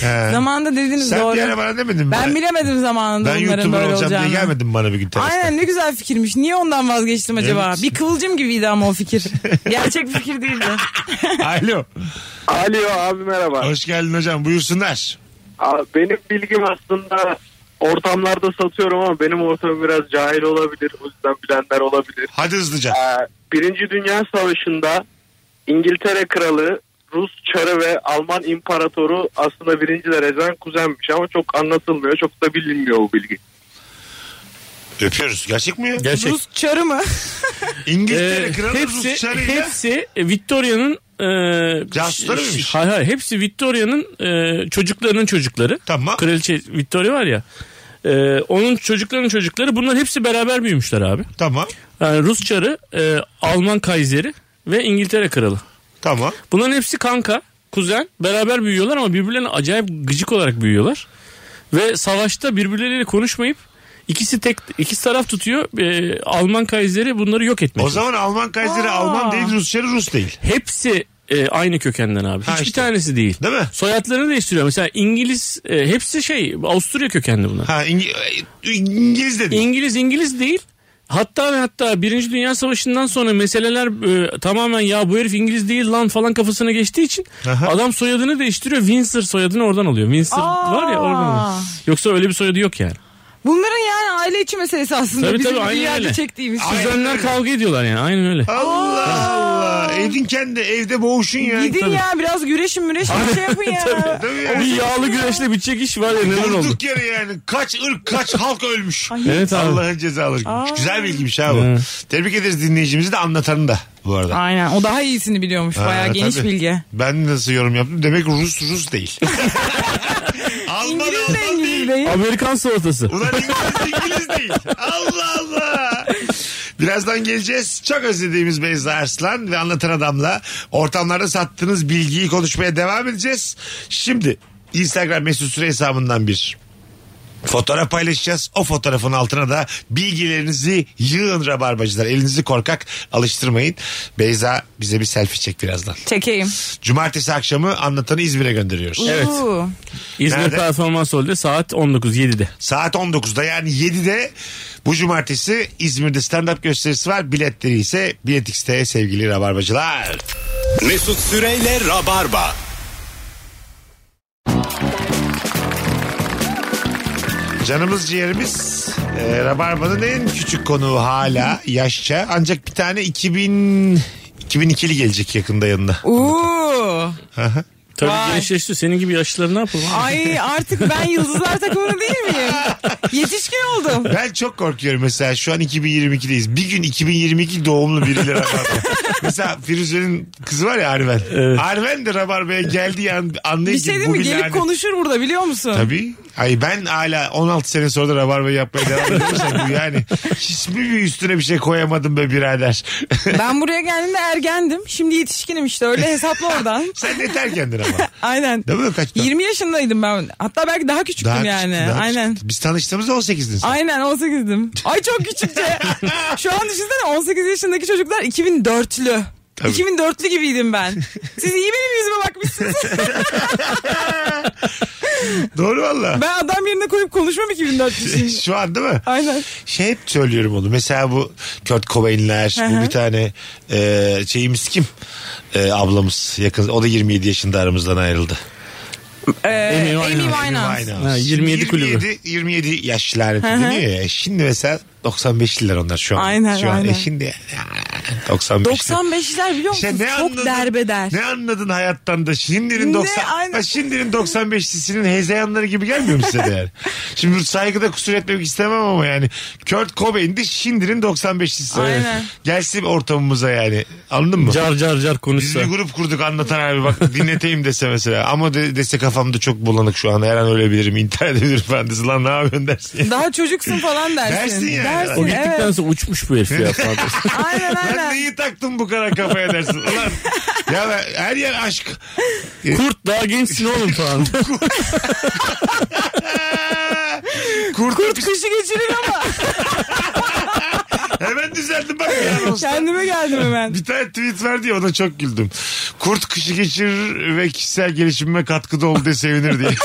[SPEAKER 2] He.
[SPEAKER 7] Zamanında dediğiniz
[SPEAKER 2] Sen
[SPEAKER 7] doğru.
[SPEAKER 2] bir ara bana demedin mi?
[SPEAKER 7] Ben bilemedim zamanında
[SPEAKER 2] Ben
[SPEAKER 7] bunların
[SPEAKER 2] YouTuber
[SPEAKER 7] böyle
[SPEAKER 2] olacağım
[SPEAKER 7] olacağını.
[SPEAKER 2] diye gelmedin bana bir gün terasta.
[SPEAKER 7] Aynen ne güzel fikirmiş. Niye ondan vazgeçtim acaba?
[SPEAKER 2] Evet.
[SPEAKER 7] Bir kıvılcım gibiydi ama o fikir. Gerçek bir fikir değildi.
[SPEAKER 2] Alo.
[SPEAKER 4] Alo abi merhaba.
[SPEAKER 2] Hoş geldin hocam. Buyursunlar.
[SPEAKER 4] Aa, Benim bilgim aslında ortamlarda satıyorum ama benim ortamım biraz cahil olabilir. O yüzden bilenler olabilir.
[SPEAKER 2] Hadi hızlıca.
[SPEAKER 4] Ee, Birinci Dünya Savaşı'nda İngiltere Kralı, Rus Çarı ve Alman İmparatoru aslında birinci dereceden kuzenmiş ama çok anlatılmıyor. Çok da bilinmiyor bu bilgi.
[SPEAKER 2] Öpüyoruz. Gerçek mi ya?
[SPEAKER 3] Gerçek.
[SPEAKER 7] Rus çarı mı?
[SPEAKER 2] İngiltere
[SPEAKER 3] Ee,
[SPEAKER 2] kralı Rus
[SPEAKER 3] hepsi
[SPEAKER 2] çarıyla.
[SPEAKER 3] hepsi e, Victoria'nın e,
[SPEAKER 2] Casusları
[SPEAKER 3] ş-
[SPEAKER 2] mıymış?
[SPEAKER 3] Hayır hayır hepsi Victoria'nın e, çocuklarının çocukları.
[SPEAKER 2] Tamam.
[SPEAKER 3] Kraliçe Victoria var ya. e, onun çocuklarının çocukları bunlar hepsi beraber büyümüşler abi.
[SPEAKER 2] Tamam.
[SPEAKER 3] Yani Rus çarı, e, Alman kayseri ve İngiltere kralı.
[SPEAKER 2] Tamam.
[SPEAKER 3] Bunların hepsi kanka, kuzen. Beraber büyüyorlar ama birbirlerine acayip gıcık olarak büyüyorlar. Ve savaşta birbirleriyle konuşmayıp ikisi tek ikisi taraf tutuyor. E, Alman kayseri bunları yok etmek.
[SPEAKER 2] O zaman Alman Kayseri
[SPEAKER 7] Aa.
[SPEAKER 2] Alman değil, Rus çarı Rus değil.
[SPEAKER 3] Hepsi e, e, aynı kökenden abi. Hiçbir tanesi değil.
[SPEAKER 2] Değil mi?
[SPEAKER 3] Soyadlarını değiştiriyor. Mesela İngiliz e, hepsi şey Avusturya kökenli bunlar.
[SPEAKER 2] Ha, İngiliz de değil.
[SPEAKER 3] İngiliz İngiliz değil. Hatta ve hatta Birinci Dünya Savaşı'ndan sonra meseleler e, tamamen ya bu herif İngiliz değil lan falan kafasına geçtiği için
[SPEAKER 2] Aha.
[SPEAKER 3] adam soyadını değiştiriyor. Windsor soyadını oradan alıyor. Windsor
[SPEAKER 7] Aa.
[SPEAKER 3] var ya oradan alıyor. Yoksa öyle bir soyadı yok yani.
[SPEAKER 7] Bunların yani aile içi meselesi aslında.
[SPEAKER 3] Tabii,
[SPEAKER 7] Bizim
[SPEAKER 3] tabii,
[SPEAKER 7] bir
[SPEAKER 3] aynen
[SPEAKER 7] yerde
[SPEAKER 3] öyle.
[SPEAKER 7] çektiğimiz şey.
[SPEAKER 3] Kuzenler kavga ediyorlar yani aynen öyle.
[SPEAKER 2] Allah Allah. Evin kendi evde boğuşun ya.
[SPEAKER 7] Gidin ya biraz güreşin müreşin bir şey yapın ya.
[SPEAKER 2] Tabii ya.
[SPEAKER 3] Bir yağlı güreşle bir çekiş var ya neler oldu.
[SPEAKER 2] Durduk yere yani. Kaç ırk kaç halk ölmüş.
[SPEAKER 3] Evet abi.
[SPEAKER 2] Allah'ın cezaları. Güzel bilgiymiş ha bu. Tebrik ederiz dinleyicimizi de anlatanı da bu arada.
[SPEAKER 7] Aynen o daha iyisini biliyormuş bayağı
[SPEAKER 2] Ha,
[SPEAKER 7] geniş
[SPEAKER 2] tabii.
[SPEAKER 7] bilgi.
[SPEAKER 2] Ben nasıl yorum yaptım? Demek Rus Rus değil. Alman
[SPEAKER 7] İngiliz de
[SPEAKER 2] Alman
[SPEAKER 7] İngiliz
[SPEAKER 2] değil.
[SPEAKER 7] değil.
[SPEAKER 3] Amerikan salatası.
[SPEAKER 2] Ulan İngiliz İngiliz değil. Allah Allah. Birazdan geleceğiz. Çok özlediğimiz Beyza Arslan ve Anlatan Adam'la ortamlarda sattığınız bilgiyi konuşmaya devam edeceğiz. Şimdi Instagram mesut süre hesabından bir Fotoğraf paylaşacağız. O fotoğrafın altına da bilgilerinizi yığın rabarbacılar. Elinizi korkak alıştırmayın. Beyza bize bir selfie çek birazdan.
[SPEAKER 7] Çekeyim.
[SPEAKER 2] Cumartesi akşamı anlatanı İzmir'e gönderiyoruz.
[SPEAKER 3] Evet.
[SPEAKER 7] Uuu.
[SPEAKER 3] İzmir
[SPEAKER 2] Nerede?
[SPEAKER 3] Performans Hall'de saat 19.07'de.
[SPEAKER 2] Saat 19'da yani 7'de bu cumartesi İzmir'de stand-up gösterisi var. Biletleri ise biletikste sevgili rabarbacılar.
[SPEAKER 1] Mesut Süreyle Rabarba.
[SPEAKER 2] Canımız ciğerimiz e, Rabarba'nın en küçük konuğu hala yaşça. Ancak bir tane 2000 2002'li gelecek yakında yanına.
[SPEAKER 7] Uuu.
[SPEAKER 3] Tabii
[SPEAKER 7] Vay.
[SPEAKER 3] gençleşti. Senin gibi yaşlılar ne yapalım?
[SPEAKER 7] Ay artık ben yıldızlar takımı değil miyim? Yetişkin oldum.
[SPEAKER 2] Ben çok korkuyorum mesela şu an 2022'deyiz. Bir gün 2022 doğumlu biriyle rabarba. mesela Firuze'nin kızı var ya Arven. Arven de rabarbaya geldiği an anlayın
[SPEAKER 7] Bir
[SPEAKER 2] ki
[SPEAKER 7] şey değil
[SPEAKER 2] bu
[SPEAKER 7] mi?
[SPEAKER 2] bir
[SPEAKER 7] Gelip
[SPEAKER 2] lanet.
[SPEAKER 7] konuşur burada biliyor musun?
[SPEAKER 2] Tabii. Ay ben hala 16 sene sonra da rabarba yapmaya devam ediyorsam bu yani. Hiçbir bir üstüne bir şey koyamadım be birader.
[SPEAKER 7] Ben buraya geldiğimde ergendim. Şimdi yetişkinim işte öyle hesapla oradan.
[SPEAKER 2] Sen ne terkendin ama.
[SPEAKER 7] Aynen.
[SPEAKER 2] Değil mi? Kaç
[SPEAKER 7] 20 yaşındaydım ben. Hatta belki daha küçüktüm
[SPEAKER 2] Daha
[SPEAKER 7] yani.
[SPEAKER 2] küçüktün, daha
[SPEAKER 7] Aynen.
[SPEAKER 2] küçüktün. Biz tanıştığımızda 18'din sen.
[SPEAKER 7] Aynen 18'dim. Ay çok küçükçe. Şu an düşünsene 18 yaşındaki çocuklar 2004'lü.
[SPEAKER 2] Tabii.
[SPEAKER 7] 2004'lü gibiydim ben. Siz iyi benim yüzüme bakmışsınız.
[SPEAKER 2] Doğru valla.
[SPEAKER 7] ben adam yerine koyup konuşmam 2004'lüsün.
[SPEAKER 2] Şu an değil mi?
[SPEAKER 7] Aynen.
[SPEAKER 2] Şey hep söylüyorum onu. Mesela bu Kurt Cobain'ler,
[SPEAKER 7] Hı
[SPEAKER 2] bu
[SPEAKER 7] hı.
[SPEAKER 2] bir tane e, şeyimiz kim? E, ablamız yakın. O da 27 yaşında aramızdan ayrıldı.
[SPEAKER 7] Ee,
[SPEAKER 3] Amy
[SPEAKER 7] Amy
[SPEAKER 3] Winehouse.
[SPEAKER 7] Winehouse.
[SPEAKER 2] Winehouse.
[SPEAKER 3] Ha, 27 kulübü.
[SPEAKER 2] 27, 27 yaşlılar deniyor ya. Şimdi mesela 95'liler onlar şu an.
[SPEAKER 7] Aynen,
[SPEAKER 2] şu an
[SPEAKER 7] aynen.
[SPEAKER 2] E şimdi ya, 95'li.
[SPEAKER 7] 95'ler biliyor musun?
[SPEAKER 2] İşte ne
[SPEAKER 7] Çok
[SPEAKER 2] anladın,
[SPEAKER 7] derbeder.
[SPEAKER 2] Ne anladın hayattan da şimdinin
[SPEAKER 7] Ne,
[SPEAKER 2] 90
[SPEAKER 7] aynen.
[SPEAKER 2] Ha, şimdinin 95'lisinin hezeyanları gibi gelmiyor mu size de yani? Şimdi bu saygıda kusur etmek istemem ama yani Kurt Cobain de şimdinin 95'lisi.
[SPEAKER 7] Aynen.
[SPEAKER 2] Gelsin ortamımıza yani. Anladın mı?
[SPEAKER 3] Car car car
[SPEAKER 2] Biz
[SPEAKER 3] konuşsa.
[SPEAKER 2] bir grup kurduk anlatan abi bak dinleteyim dese mesela. Ama de, dese kafamda çok bulanık şu an her an ölebilirim intihar edebilirim ben dese lan ne yapıyorsun dersin.
[SPEAKER 7] Daha çocuksun falan dersin.
[SPEAKER 2] Dersin yani.
[SPEAKER 3] O
[SPEAKER 7] Dersin
[SPEAKER 3] gittikten
[SPEAKER 7] evet.
[SPEAKER 3] sonra uçmuş bu herif ya. falan.
[SPEAKER 7] Aynen
[SPEAKER 2] Lan
[SPEAKER 7] aynen.
[SPEAKER 2] neyi taktın bu kadar kafaya dersin. Ulan ya ben- her yer aşk.
[SPEAKER 3] Kurt daha gençsin oğlum falan.
[SPEAKER 2] Kurt,
[SPEAKER 7] Kurt kışı geçirir ama
[SPEAKER 2] hemen düzeldim bak ya. anonsta.
[SPEAKER 7] kendime geldim hemen.
[SPEAKER 2] Bir tane tweet verdi ya ona çok güldüm. Kurt kışı geçirir ve kişisel gelişimime katkıda oldu diye sevinir diye.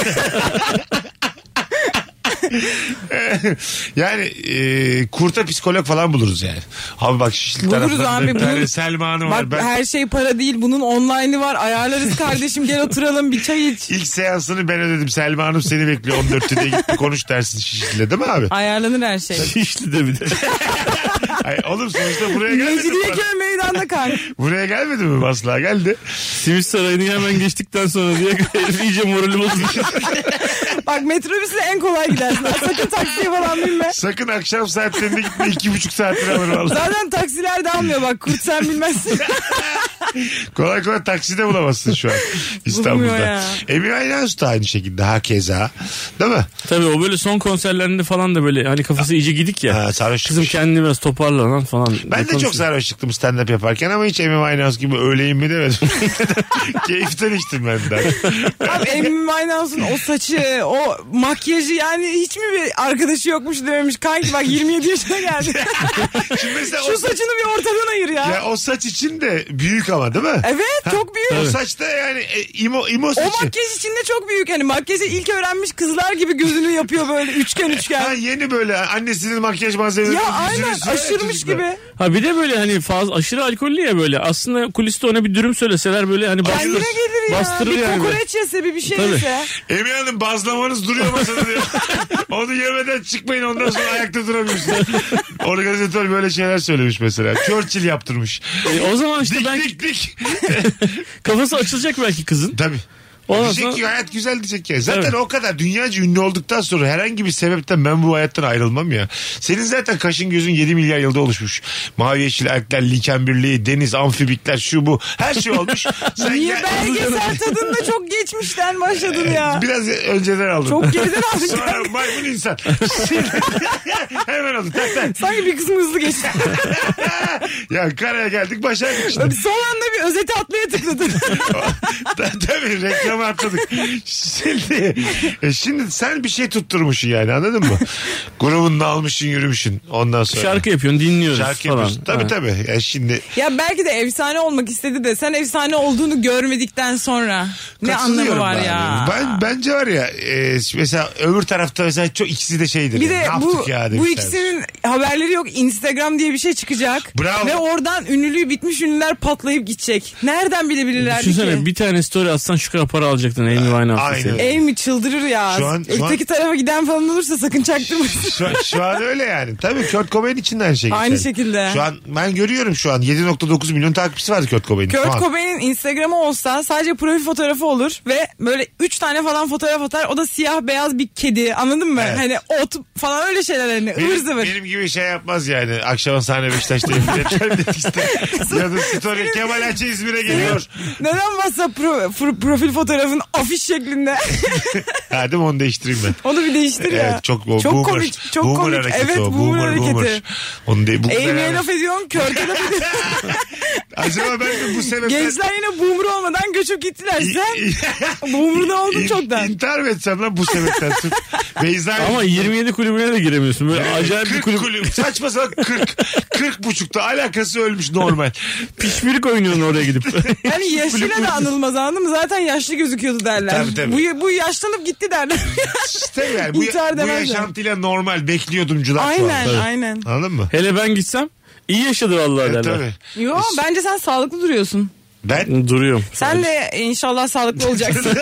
[SPEAKER 2] yani e, kurta psikolog falan buluruz yani. Abi bak Şişli
[SPEAKER 7] Buluruz
[SPEAKER 2] taraflarında
[SPEAKER 7] abi,
[SPEAKER 2] bir tane
[SPEAKER 7] buluruz.
[SPEAKER 2] Selma Hanım
[SPEAKER 7] Bak
[SPEAKER 2] var. Ben
[SPEAKER 7] her şey para değil bunun online'ı var ayarlarız kardeşim gel oturalım bir çay iç.
[SPEAKER 2] ilk seansını ben ödedim. Selma Hanım seni bekliyor 14'te diye gitti konuş dersin Şişli'yle değil mi abi?
[SPEAKER 7] Ayarlanır her şey.
[SPEAKER 3] Şişli de bir de.
[SPEAKER 2] Ay, oğlum sonuçta buraya gelmedi mi?
[SPEAKER 7] Mecidiyeköy meydanda kanka.
[SPEAKER 2] Buraya gelmedi mi Masla geldi.
[SPEAKER 3] Simit Sarayı'nı hemen geçtikten sonra diye herif iyice morali bozuldu.
[SPEAKER 7] Bak metrobüsle en kolay gidersin. Sakın taksiye falan binme.
[SPEAKER 2] Sakın akşam saatlerinde gitme iki buçuk saatini alır vallahi.
[SPEAKER 7] Zaten taksiler de almıyor bak kurt sen bilmezsin.
[SPEAKER 2] Kolay kolay taksi de bulamazsın şu an
[SPEAKER 7] Bulunmuyor
[SPEAKER 2] İstanbul'da.
[SPEAKER 7] ya.
[SPEAKER 2] Amy Winehouse da aynı şekilde hakeza. Değil mi?
[SPEAKER 3] Tabii o böyle son konserlerinde falan da böyle hani kafası iyice gidik ya.
[SPEAKER 2] Ha, sarhoş
[SPEAKER 3] Kızım şey-
[SPEAKER 2] çıkmış.
[SPEAKER 3] kendini biraz toparla lan falan.
[SPEAKER 2] Ben de çok sarhoş çıktım stand-up yaparken ama hiç Amy Winehouse gibi öyleyim mi demedim. Keyiften içtim ben de.
[SPEAKER 7] Abi Amy Winehouse'un o saçı, o makyajı yani hiç mi bir arkadaşı yokmuş dememiş. Kanki bak 27 yaşına geldi.
[SPEAKER 2] Şimdi mesela o,
[SPEAKER 7] Şu saçını bir ortadan ayır ya.
[SPEAKER 2] ya o saç için de büyük ama değil mi?
[SPEAKER 7] Evet, çok büyük.
[SPEAKER 2] O
[SPEAKER 7] Evet.
[SPEAKER 2] saç da yani e, imo, imo
[SPEAKER 7] O
[SPEAKER 2] saçı.
[SPEAKER 7] makyaj içinde çok büyük hani makyajı ilk öğrenmiş kızlar gibi gözünü yapıyor böyle üçgen
[SPEAKER 2] Ha,
[SPEAKER 7] üçgen.
[SPEAKER 2] yeni böyle annesinin makyaj malzemeleri.
[SPEAKER 7] ya
[SPEAKER 2] yüzünü
[SPEAKER 7] aynen
[SPEAKER 2] sürüyor ya
[SPEAKER 7] aşırmış
[SPEAKER 2] çocuklar.
[SPEAKER 7] gibi.
[SPEAKER 3] Ha bir de böyle hani fazla aşırı alkollü ya böyle. Aslında kuliste ona bir dürüm söyleseler böyle hani bastır,
[SPEAKER 7] Kendine gelir ya.
[SPEAKER 3] bastırır
[SPEAKER 7] bir
[SPEAKER 3] yani.
[SPEAKER 7] kokoreç yese bir bir şey
[SPEAKER 3] Tabii.
[SPEAKER 7] yese.
[SPEAKER 2] Emine Hanım bazlamanız duruyor masada diyor. Onu yemeden çıkmayın ondan sonra ayakta duramıyorsunuz. Organizatör böyle şeyler söylemiş mesela. Churchill yaptırmış.
[SPEAKER 3] E, o zaman işte
[SPEAKER 2] dik
[SPEAKER 3] ben
[SPEAKER 2] dik dik.
[SPEAKER 3] kafası açılacak belki kızın.
[SPEAKER 2] Tabii.
[SPEAKER 3] Ondan
[SPEAKER 2] diyecek ki
[SPEAKER 3] sonra
[SPEAKER 2] hayat güzel diyecek ya. Zaten
[SPEAKER 3] Evet.
[SPEAKER 2] o kadar dünyaca ünlü olduktan sonra herhangi bir sebepten ben bu hayattan ayrılmam ya. Senin zaten kaşın gözün 7 milyar yılda oluşmuş. Mavi yeşil erkler, liken birliği, deniz, amfibikler, şu bu. Her şey olmuş. Sen
[SPEAKER 7] Niye
[SPEAKER 2] gel-
[SPEAKER 7] belgesel tadında çok geçmişten başladın ya.
[SPEAKER 2] Biraz önceden aldım.
[SPEAKER 7] Çok geriden aldın
[SPEAKER 2] Sonra
[SPEAKER 7] kanka.
[SPEAKER 2] maymun insan. Hemen aldım. Tak tak.
[SPEAKER 7] Sanki bir kısmı hızlı geçti.
[SPEAKER 2] ya karaya geldik başa işte.
[SPEAKER 7] Son anda bir özeti atlaya tıkladın.
[SPEAKER 2] Tabii reklama atladık. Şimdi, e, şimdi sen bir şey tutturmuşsun yani anladın mı? Grubunla almışsın yürümüşsün ondan sonra.
[SPEAKER 3] şarkı yapıyorsun dinliyoruz
[SPEAKER 2] Şarkı
[SPEAKER 3] falan.
[SPEAKER 2] yapıyorsun. Tabii
[SPEAKER 3] Ha.
[SPEAKER 2] tabii. Ya şimdi
[SPEAKER 7] ya belki de efsane olmak istedi de sen efsane olduğunu görmedikten sonra ne anlamı
[SPEAKER 2] katılıyorum
[SPEAKER 7] var
[SPEAKER 2] ben.
[SPEAKER 7] ya?
[SPEAKER 2] Ben, bence var ya e, mesela öbür tarafta mesela çok ikisi de şeydir.
[SPEAKER 7] Bir
[SPEAKER 2] yani,
[SPEAKER 7] de
[SPEAKER 2] ne
[SPEAKER 7] bu,
[SPEAKER 2] yaptık ya
[SPEAKER 7] bu
[SPEAKER 2] demişler.
[SPEAKER 7] ikisinin haberleri yok. Instagram diye bir şey çıkacak.
[SPEAKER 2] Bravo.
[SPEAKER 7] Ve oradan ünlülüğü bitmiş ünlüler patlayıp gidecek. Nereden bilebilirler
[SPEAKER 3] Düşünsene
[SPEAKER 7] ki? E-
[SPEAKER 3] bir tane story atsan şu kadar para alacaktın Amy
[SPEAKER 2] Aynen.
[SPEAKER 3] Winehouse'ın.
[SPEAKER 7] Ev mi çıldırır ya?
[SPEAKER 2] Şu an- şu an-
[SPEAKER 7] Öteki tarafa giden falan olursa sakın çaktırmasın.
[SPEAKER 2] Şu, şu an öyle yani. Tabii Kurt Cobain için de aynı şey.
[SPEAKER 7] Aynı
[SPEAKER 2] geçerli.
[SPEAKER 7] şekilde.
[SPEAKER 2] Şu an ben görüyorum şu an 7.9 milyon takipçisi vardı Kurt Cobain'in. şu
[SPEAKER 7] Kurt
[SPEAKER 2] an.
[SPEAKER 7] Cobain'in Instagram'ı olsa sadece profil fotoğrafı olur ve böyle 3 tane falan fotoğraf atar. O da siyah beyaz bir kedi anladın mı?
[SPEAKER 2] Evet.
[SPEAKER 7] Hani ot falan öyle şeyler hani ıvır
[SPEAKER 2] Benim,
[SPEAKER 7] zıvır.
[SPEAKER 2] benim gibi şey yapmaz yani. Akşama sahne Beşiktaş'tayım. Yeter dedik işte. ya da story Kemal Ayça İzmir'e geliyor.
[SPEAKER 7] Neden WhatsApp pro- pro- profil fotoğrafın afiş şeklinde?
[SPEAKER 2] ha değil mi onu değiştireyim ben.
[SPEAKER 7] Onu bir değiştir ya.
[SPEAKER 2] Evet çok, o
[SPEAKER 7] çok
[SPEAKER 2] boomer,
[SPEAKER 7] komik. Çok
[SPEAKER 2] boomer
[SPEAKER 7] komik.
[SPEAKER 2] hareketi
[SPEAKER 7] evet
[SPEAKER 2] o.
[SPEAKER 7] boomer, hareketi.
[SPEAKER 2] Onu de, bu
[SPEAKER 7] Amy'ye
[SPEAKER 2] beraber-
[SPEAKER 7] laf ediyorsun, Kört'e laf ediyorsun.
[SPEAKER 2] Acaba ben de bu sebepten...
[SPEAKER 7] Gençler yine boomer olmadan göçüp gittiler. Sen boomer'da oldun
[SPEAKER 2] İn-
[SPEAKER 7] çoktan.
[SPEAKER 2] İntihar mı etsem lan bu sebepten? Sırf Beyza
[SPEAKER 3] Ama 27 kulübüne de giremiyorsun. Böyle acayip bir
[SPEAKER 2] 40
[SPEAKER 3] kulüp.
[SPEAKER 2] kulüp. Saçma sapan 40. 40 buçukta alakası ölmüş normal.
[SPEAKER 3] Pişmirik oynuyorsun oraya gidip.
[SPEAKER 7] Yani yaşıyla da anılmaz anladın mı? Zaten yaşlı gözüküyordu derler.
[SPEAKER 2] Tabii, tabii.
[SPEAKER 7] Bu, bu yaşlanıp gitti derler.
[SPEAKER 2] İşte yani bu,
[SPEAKER 7] İntihar
[SPEAKER 2] bu
[SPEAKER 7] demezler.
[SPEAKER 2] yaşantıyla normal bekliyordumcular
[SPEAKER 7] aynen
[SPEAKER 2] falan.
[SPEAKER 7] aynen.
[SPEAKER 2] Anladın mı?
[SPEAKER 3] Hele ben gitsem iyi yaşadı vallahi
[SPEAKER 2] Evet,
[SPEAKER 3] derler.
[SPEAKER 2] tabii.
[SPEAKER 7] Yo bence sen sağlıklı duruyorsun.
[SPEAKER 2] Ben
[SPEAKER 3] Duruyorum.
[SPEAKER 7] Sen de inşallah sağlıklı olacaksın.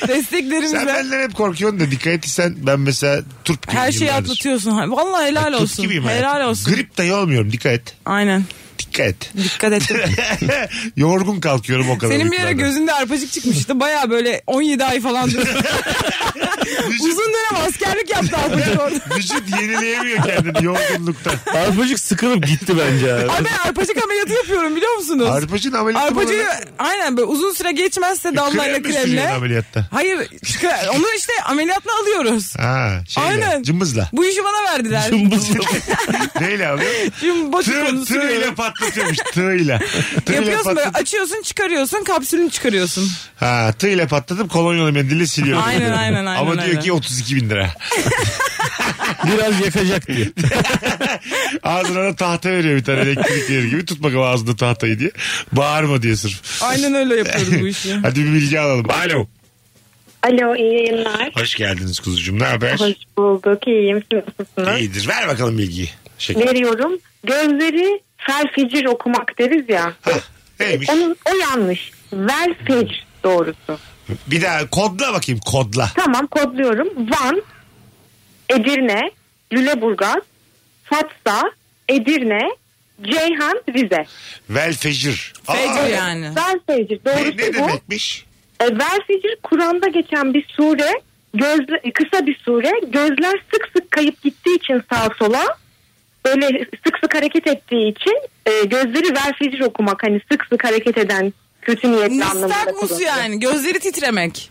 [SPEAKER 2] sen
[SPEAKER 7] Desteklerimizle.
[SPEAKER 2] benden hep korkuyorsun da dikkat etsen ben mesela turp gibi
[SPEAKER 7] Her şeyi
[SPEAKER 2] yıllardır.
[SPEAKER 7] atlatıyorsun. Ha, Vallahi helal
[SPEAKER 2] Turp
[SPEAKER 7] olsun.
[SPEAKER 2] gibiyim hayatım.
[SPEAKER 7] Helal olsun.
[SPEAKER 2] Grip dahi olmuyorum dikkat et.
[SPEAKER 7] Aynen.
[SPEAKER 2] Dikkat et.
[SPEAKER 7] Dikkat ettim.
[SPEAKER 2] Yorgun kalkıyorum o kadar.
[SPEAKER 7] Senin bir ara
[SPEAKER 2] uykulardan.
[SPEAKER 7] gözünde arpacık çıkmıştı. Baya böyle 17 ay falan durdu. Uzun dönem askerlik yaptı arpacık orada.
[SPEAKER 2] Vücut yenileyemiyor kendini yorgunluktan.
[SPEAKER 3] Arpacık sıkılıp gitti bence. abi.
[SPEAKER 7] Ay ben arpacık ameliyatı yapıyorum biliyor musunuz?
[SPEAKER 2] Arpacın ameliyatı mı
[SPEAKER 7] Arpacığı
[SPEAKER 2] var?
[SPEAKER 7] aynen böyle uzun süre geçmezse
[SPEAKER 2] Krem
[SPEAKER 7] damlayla
[SPEAKER 2] mi sürüyorsun
[SPEAKER 7] kremle.
[SPEAKER 2] ameliyatta?
[SPEAKER 7] Hayır çıkar- onu işte ameliyatla alıyoruz.
[SPEAKER 2] Ha, şeyle,
[SPEAKER 7] Aynen.
[SPEAKER 2] cımbızla.
[SPEAKER 7] Bu işi bana verdiler.
[SPEAKER 3] Cımbızla.
[SPEAKER 2] Neyle alıyor?
[SPEAKER 7] Şimdi boşluk
[SPEAKER 2] Tığ,
[SPEAKER 7] onu
[SPEAKER 2] tığıyla
[SPEAKER 7] sürüyorum.
[SPEAKER 2] patlatıyormuş tığıyla. Tığıyla
[SPEAKER 7] Yapıyorsun böyle
[SPEAKER 2] patlatıp,
[SPEAKER 7] açıyorsun çıkarıyorsun kapsülünü çıkarıyorsun.
[SPEAKER 2] ha, tığıyla patlatıp kolonyalı mendille siliyorum.
[SPEAKER 7] Aynen, aynen, aynen,
[SPEAKER 2] Ama diyor
[SPEAKER 7] aynen.
[SPEAKER 2] ki 32 bin lira.
[SPEAKER 3] Biraz yakacak diyor.
[SPEAKER 2] Ağzına da tahta veriyor bir tane elektrik verir gibi. Tut bakalım ağzında tahtayı diye. Bağırma diye sırf.
[SPEAKER 7] Aynen öyle yapıyoruz bu işi.
[SPEAKER 2] Hadi bir bilgi alalım. Alo.
[SPEAKER 10] Alo iyi yayınlar.
[SPEAKER 2] Hoş geldiniz kuzucuğum. Ne haber?
[SPEAKER 10] Hoş bulduk iyiyim. Siz nasılsınız?
[SPEAKER 2] İyidir. Ver bakalım bilgiyi. Şeker.
[SPEAKER 10] Veriyorum. Gözleri fel fecir okumak deriz ya.
[SPEAKER 2] Hah, Neymiş?
[SPEAKER 10] Onun, E, o yanlış. Vel fecir doğrusu.
[SPEAKER 2] Bir daha kodla bakayım kodla.
[SPEAKER 10] Tamam kodluyorum. Van, Edirne, Lüleburgaz, Fatsa, Edirne, Ceyhan, Rize.
[SPEAKER 2] Vel fecir. Aa,
[SPEAKER 7] Fecr yani.
[SPEAKER 10] Vel fecir
[SPEAKER 2] Ne,
[SPEAKER 10] doğrusu
[SPEAKER 2] ne
[SPEAKER 10] bu.
[SPEAKER 2] demekmiş?
[SPEAKER 10] E, vel fecir Kur'an'da geçen bir sure. Gözle, kısa bir sure. Gözler sık sık kayıp gittiği için sağa sola böyle sık sık hareket ettiği için e, gözleri vel fecir okumak hani sık sık hareket eden kötü niyetli anlamında
[SPEAKER 7] Nistagmus
[SPEAKER 10] kullanılıyor.
[SPEAKER 7] yani gözleri titremek.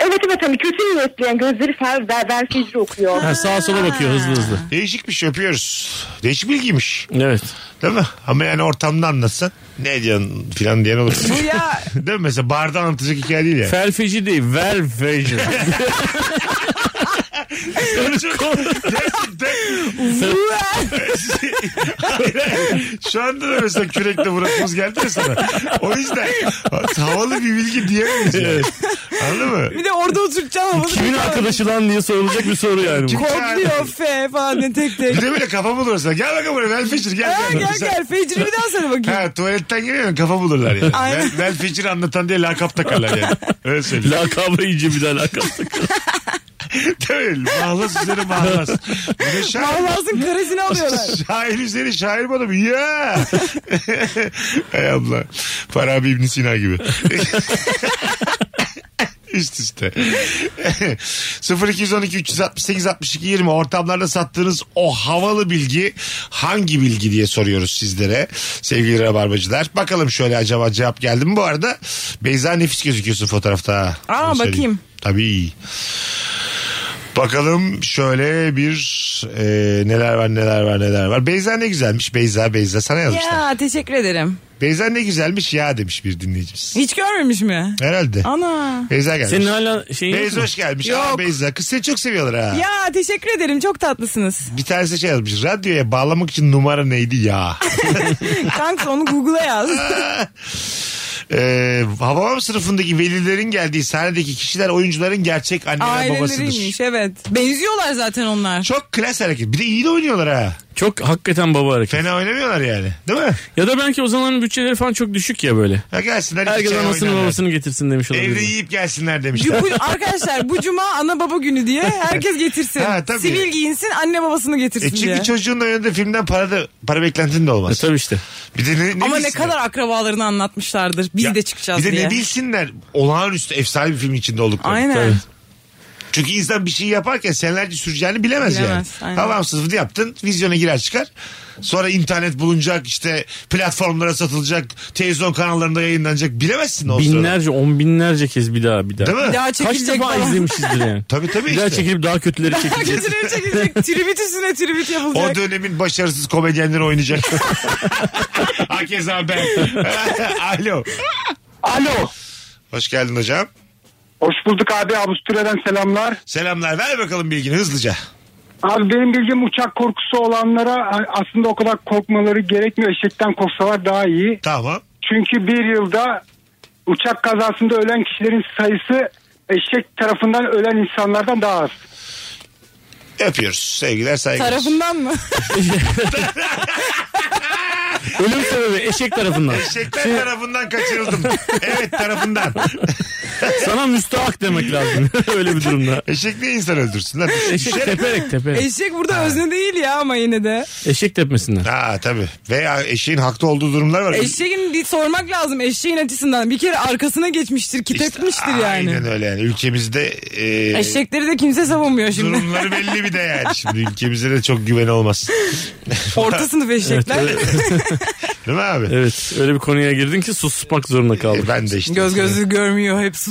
[SPEAKER 10] Evet evet hani kötü niyetli yani gözleri fel, vel, vel fecir okuyor.
[SPEAKER 3] Ha, sağa sola bakıyor hızlı hızlı.
[SPEAKER 2] Değişikmiş öpüyoruz. Değişik bilgiymiş.
[SPEAKER 3] Evet.
[SPEAKER 2] Değil mi? Ama yani ortamda anlatsan ne diyorsun filan diyen olur.
[SPEAKER 7] Bu ya
[SPEAKER 2] değil mi? Mesela barda anlatacak hikaye değil yani.
[SPEAKER 3] Felfeci değil. Velfeci.
[SPEAKER 2] Gerçekten
[SPEAKER 7] bu ya.
[SPEAKER 2] Hayır, hayır. Şu anda da mesela kürekle vurasımız geldi ya sana. O yüzden havalı bir bilgi diyemeyiz yani. Anladın mı?
[SPEAKER 7] Bir de orada oturacağım havalı.
[SPEAKER 3] Kimin arkadaşı lan diye sorulacak bir soru yani. bu.
[SPEAKER 7] Kodluyor F falan diye tek tek.
[SPEAKER 2] Bir de böyle kafa bulursa gel bakalım buraya Vel Fisher gel.
[SPEAKER 7] Ha, gel gel Fecri bir daha söyle bakayım.
[SPEAKER 2] Ha tuvaletten geliyor kafa bulurlar yani.
[SPEAKER 7] Aynen.
[SPEAKER 2] Vel, Vel Fisher'ı anlatan diye lakap takarlar yani. Öyle söyleyeyim.
[SPEAKER 3] Lakabı iyice bir daha lakap takıyor.
[SPEAKER 2] Değil. Mahlas üzeri mahlas. Bir de şair-
[SPEAKER 7] Allah'ın karesini alıyorlar.
[SPEAKER 2] Şair üzeri şair bana bir ya. Hay abla. Farabi İbn Sina gibi. Üst üste. 0212 368 62 20 ortamlarda sattığınız o havalı bilgi hangi bilgi diye soruyoruz sizlere sevgili rabarbacılar. Bakalım şöyle acaba cevap geldi mi bu arada? Beyza nefis gözüküyorsun fotoğrafta. ha.
[SPEAKER 7] Aa,
[SPEAKER 2] Onu söyleyeyim.
[SPEAKER 7] bakayım.
[SPEAKER 2] Tabii. Bakalım şöyle bir e, neler var neler var neler var. Beyza ne güzelmiş Beyza Beyza sana yazmışlar.
[SPEAKER 7] Ya teşekkür ederim.
[SPEAKER 2] Beyza ne güzelmiş ya demiş bir dinleyicimiz.
[SPEAKER 7] Hiç görmemiş mi?
[SPEAKER 2] Herhalde.
[SPEAKER 7] Ana.
[SPEAKER 2] Beyza gelmiş.
[SPEAKER 3] Senin hala şeyin yok
[SPEAKER 2] Beyza
[SPEAKER 3] mu?
[SPEAKER 2] hoş gelmiş. Aa, Beyza kız seni çok seviyorlar ha.
[SPEAKER 7] Ya teşekkür ederim çok tatlısınız.
[SPEAKER 2] Bir tanesi şey yazmış. Radyoya bağlamak için numara neydi ya?
[SPEAKER 7] Kanka onu Google'a yaz.
[SPEAKER 2] ee, Hababam sınıfındaki velilerin geldiği sahnedeki kişiler oyuncuların gerçek anneler babasıdır.
[SPEAKER 7] Aileleriymiş evet. Benziyorlar zaten onlar.
[SPEAKER 2] Çok klas hareket. Bir de iyi de oynuyorlar ha.
[SPEAKER 3] Çok hakikaten baba hareketi.
[SPEAKER 2] Fena oynamıyorlar yani. Değil mi?
[SPEAKER 3] Ya da belki o zamanların bütçeleri falan çok düşük ya böyle.
[SPEAKER 2] Ya gelsinler. iki
[SPEAKER 3] Herkes
[SPEAKER 2] çay
[SPEAKER 3] anasını
[SPEAKER 2] oynarlar.
[SPEAKER 3] babasını getirsin demiş
[SPEAKER 2] şey Evde
[SPEAKER 3] olabilir.
[SPEAKER 2] yiyip gelsinler demişler.
[SPEAKER 7] Bu- arkadaşlar bu cuma ana baba günü diye herkes getirsin.
[SPEAKER 2] Ha, tabii.
[SPEAKER 7] Sivil giyinsin anne babasını getirsin
[SPEAKER 2] E çünkü
[SPEAKER 7] diye.
[SPEAKER 2] çocuğun oynadığı filmden para da para beklentin de
[SPEAKER 3] E
[SPEAKER 2] olmaz.
[SPEAKER 3] tabii işte.
[SPEAKER 2] Bir de ne, ne
[SPEAKER 7] Ama ne
[SPEAKER 2] bilsinler?
[SPEAKER 7] kadar akrabalarını anlatmışlardır. Biz
[SPEAKER 2] Ya,
[SPEAKER 7] de çıkacağız
[SPEAKER 2] Bir de
[SPEAKER 7] diye.
[SPEAKER 2] ne bilsinler olağanüstü efsane bir film içinde olduklarını.
[SPEAKER 7] Aynen.
[SPEAKER 3] Tabii.
[SPEAKER 2] Çünkü insan bir şey yaparken senelerce süreceğini bilemez,
[SPEAKER 7] Bilemez,
[SPEAKER 2] yani.
[SPEAKER 7] aynen.
[SPEAKER 2] Tamam sınıfını yaptın vizyona girer çıkar. Sonra internet bulunacak işte platformlara satılacak televizyon kanallarında yayınlanacak bilemezsin o sırada.
[SPEAKER 3] Binlerce on binlerce kez bir daha bir daha.
[SPEAKER 2] Değil mi?
[SPEAKER 7] Bir daha
[SPEAKER 3] Kaç
[SPEAKER 7] çekilecek
[SPEAKER 3] defa
[SPEAKER 7] falan.
[SPEAKER 3] izlemişizdir yani.
[SPEAKER 2] Tabii tabii
[SPEAKER 3] Bir daha
[SPEAKER 2] işte.
[SPEAKER 3] çekilip daha kötüleri çekileceğiz.
[SPEAKER 7] Kötüleri çekilecek. Tribüt üstüne tribüt
[SPEAKER 2] O
[SPEAKER 7] yapılacak.
[SPEAKER 2] dönemin başarısız komedyenleri oynayacak. Hakeza ben. Alo.
[SPEAKER 5] Alo.
[SPEAKER 2] Hoş geldin hocam.
[SPEAKER 5] Hoş bulduk abi. Avusturya'dan selamlar.
[SPEAKER 2] Selamlar. Ver bakalım bilgini hızlıca.
[SPEAKER 5] Abi benim bildiğim uçak korkusu olanlara aslında o kadar korkmaları gerekmiyor. Eşekten korksalar daha iyi.
[SPEAKER 2] Tamam.
[SPEAKER 5] Çünkü bir yılda uçak kazasında ölen kişilerin sayısı eşek tarafından ölen insanlardan daha az.
[SPEAKER 2] Öpüyoruz. Sevgiler saygılar.
[SPEAKER 7] Tarafından mı?
[SPEAKER 3] Ölüm sebebi eşek tarafından.
[SPEAKER 2] Eşekler tarafından kaçırıldım. evet tarafından.
[SPEAKER 3] Sana müstahak demek lazım. Öyle bir durumda.
[SPEAKER 2] Eşek niye insan öldürsün lan?
[SPEAKER 3] Eşek
[SPEAKER 2] Düşerek-
[SPEAKER 3] teperek teperek.
[SPEAKER 7] Eşek burada özne değil ya ama yine de.
[SPEAKER 3] Eşek tepmesinden.
[SPEAKER 2] Ha tabii. Veya eşeğin haklı olduğu durumlar var.
[SPEAKER 7] Eşeğin bir sormak lazım eşeğin açısından. Bir kere arkasına geçmiştir,
[SPEAKER 2] İşte
[SPEAKER 7] kitletmiştir yani.
[SPEAKER 2] Aynen öyle yani. Ülkemizde e,
[SPEAKER 7] Eşekleri de kimse savunmuyor şimdi.
[SPEAKER 2] durumları belli bir de yani. Şimdi ülkemize de çok güven olmaz.
[SPEAKER 7] Orta sınıf eşekler.
[SPEAKER 2] Değil mi abi?
[SPEAKER 3] Evet öyle bir konuya girdin ki susmak zorunda kaldık.
[SPEAKER 2] E, ben de işte.
[SPEAKER 7] Göz gözü görmüyor hep sus.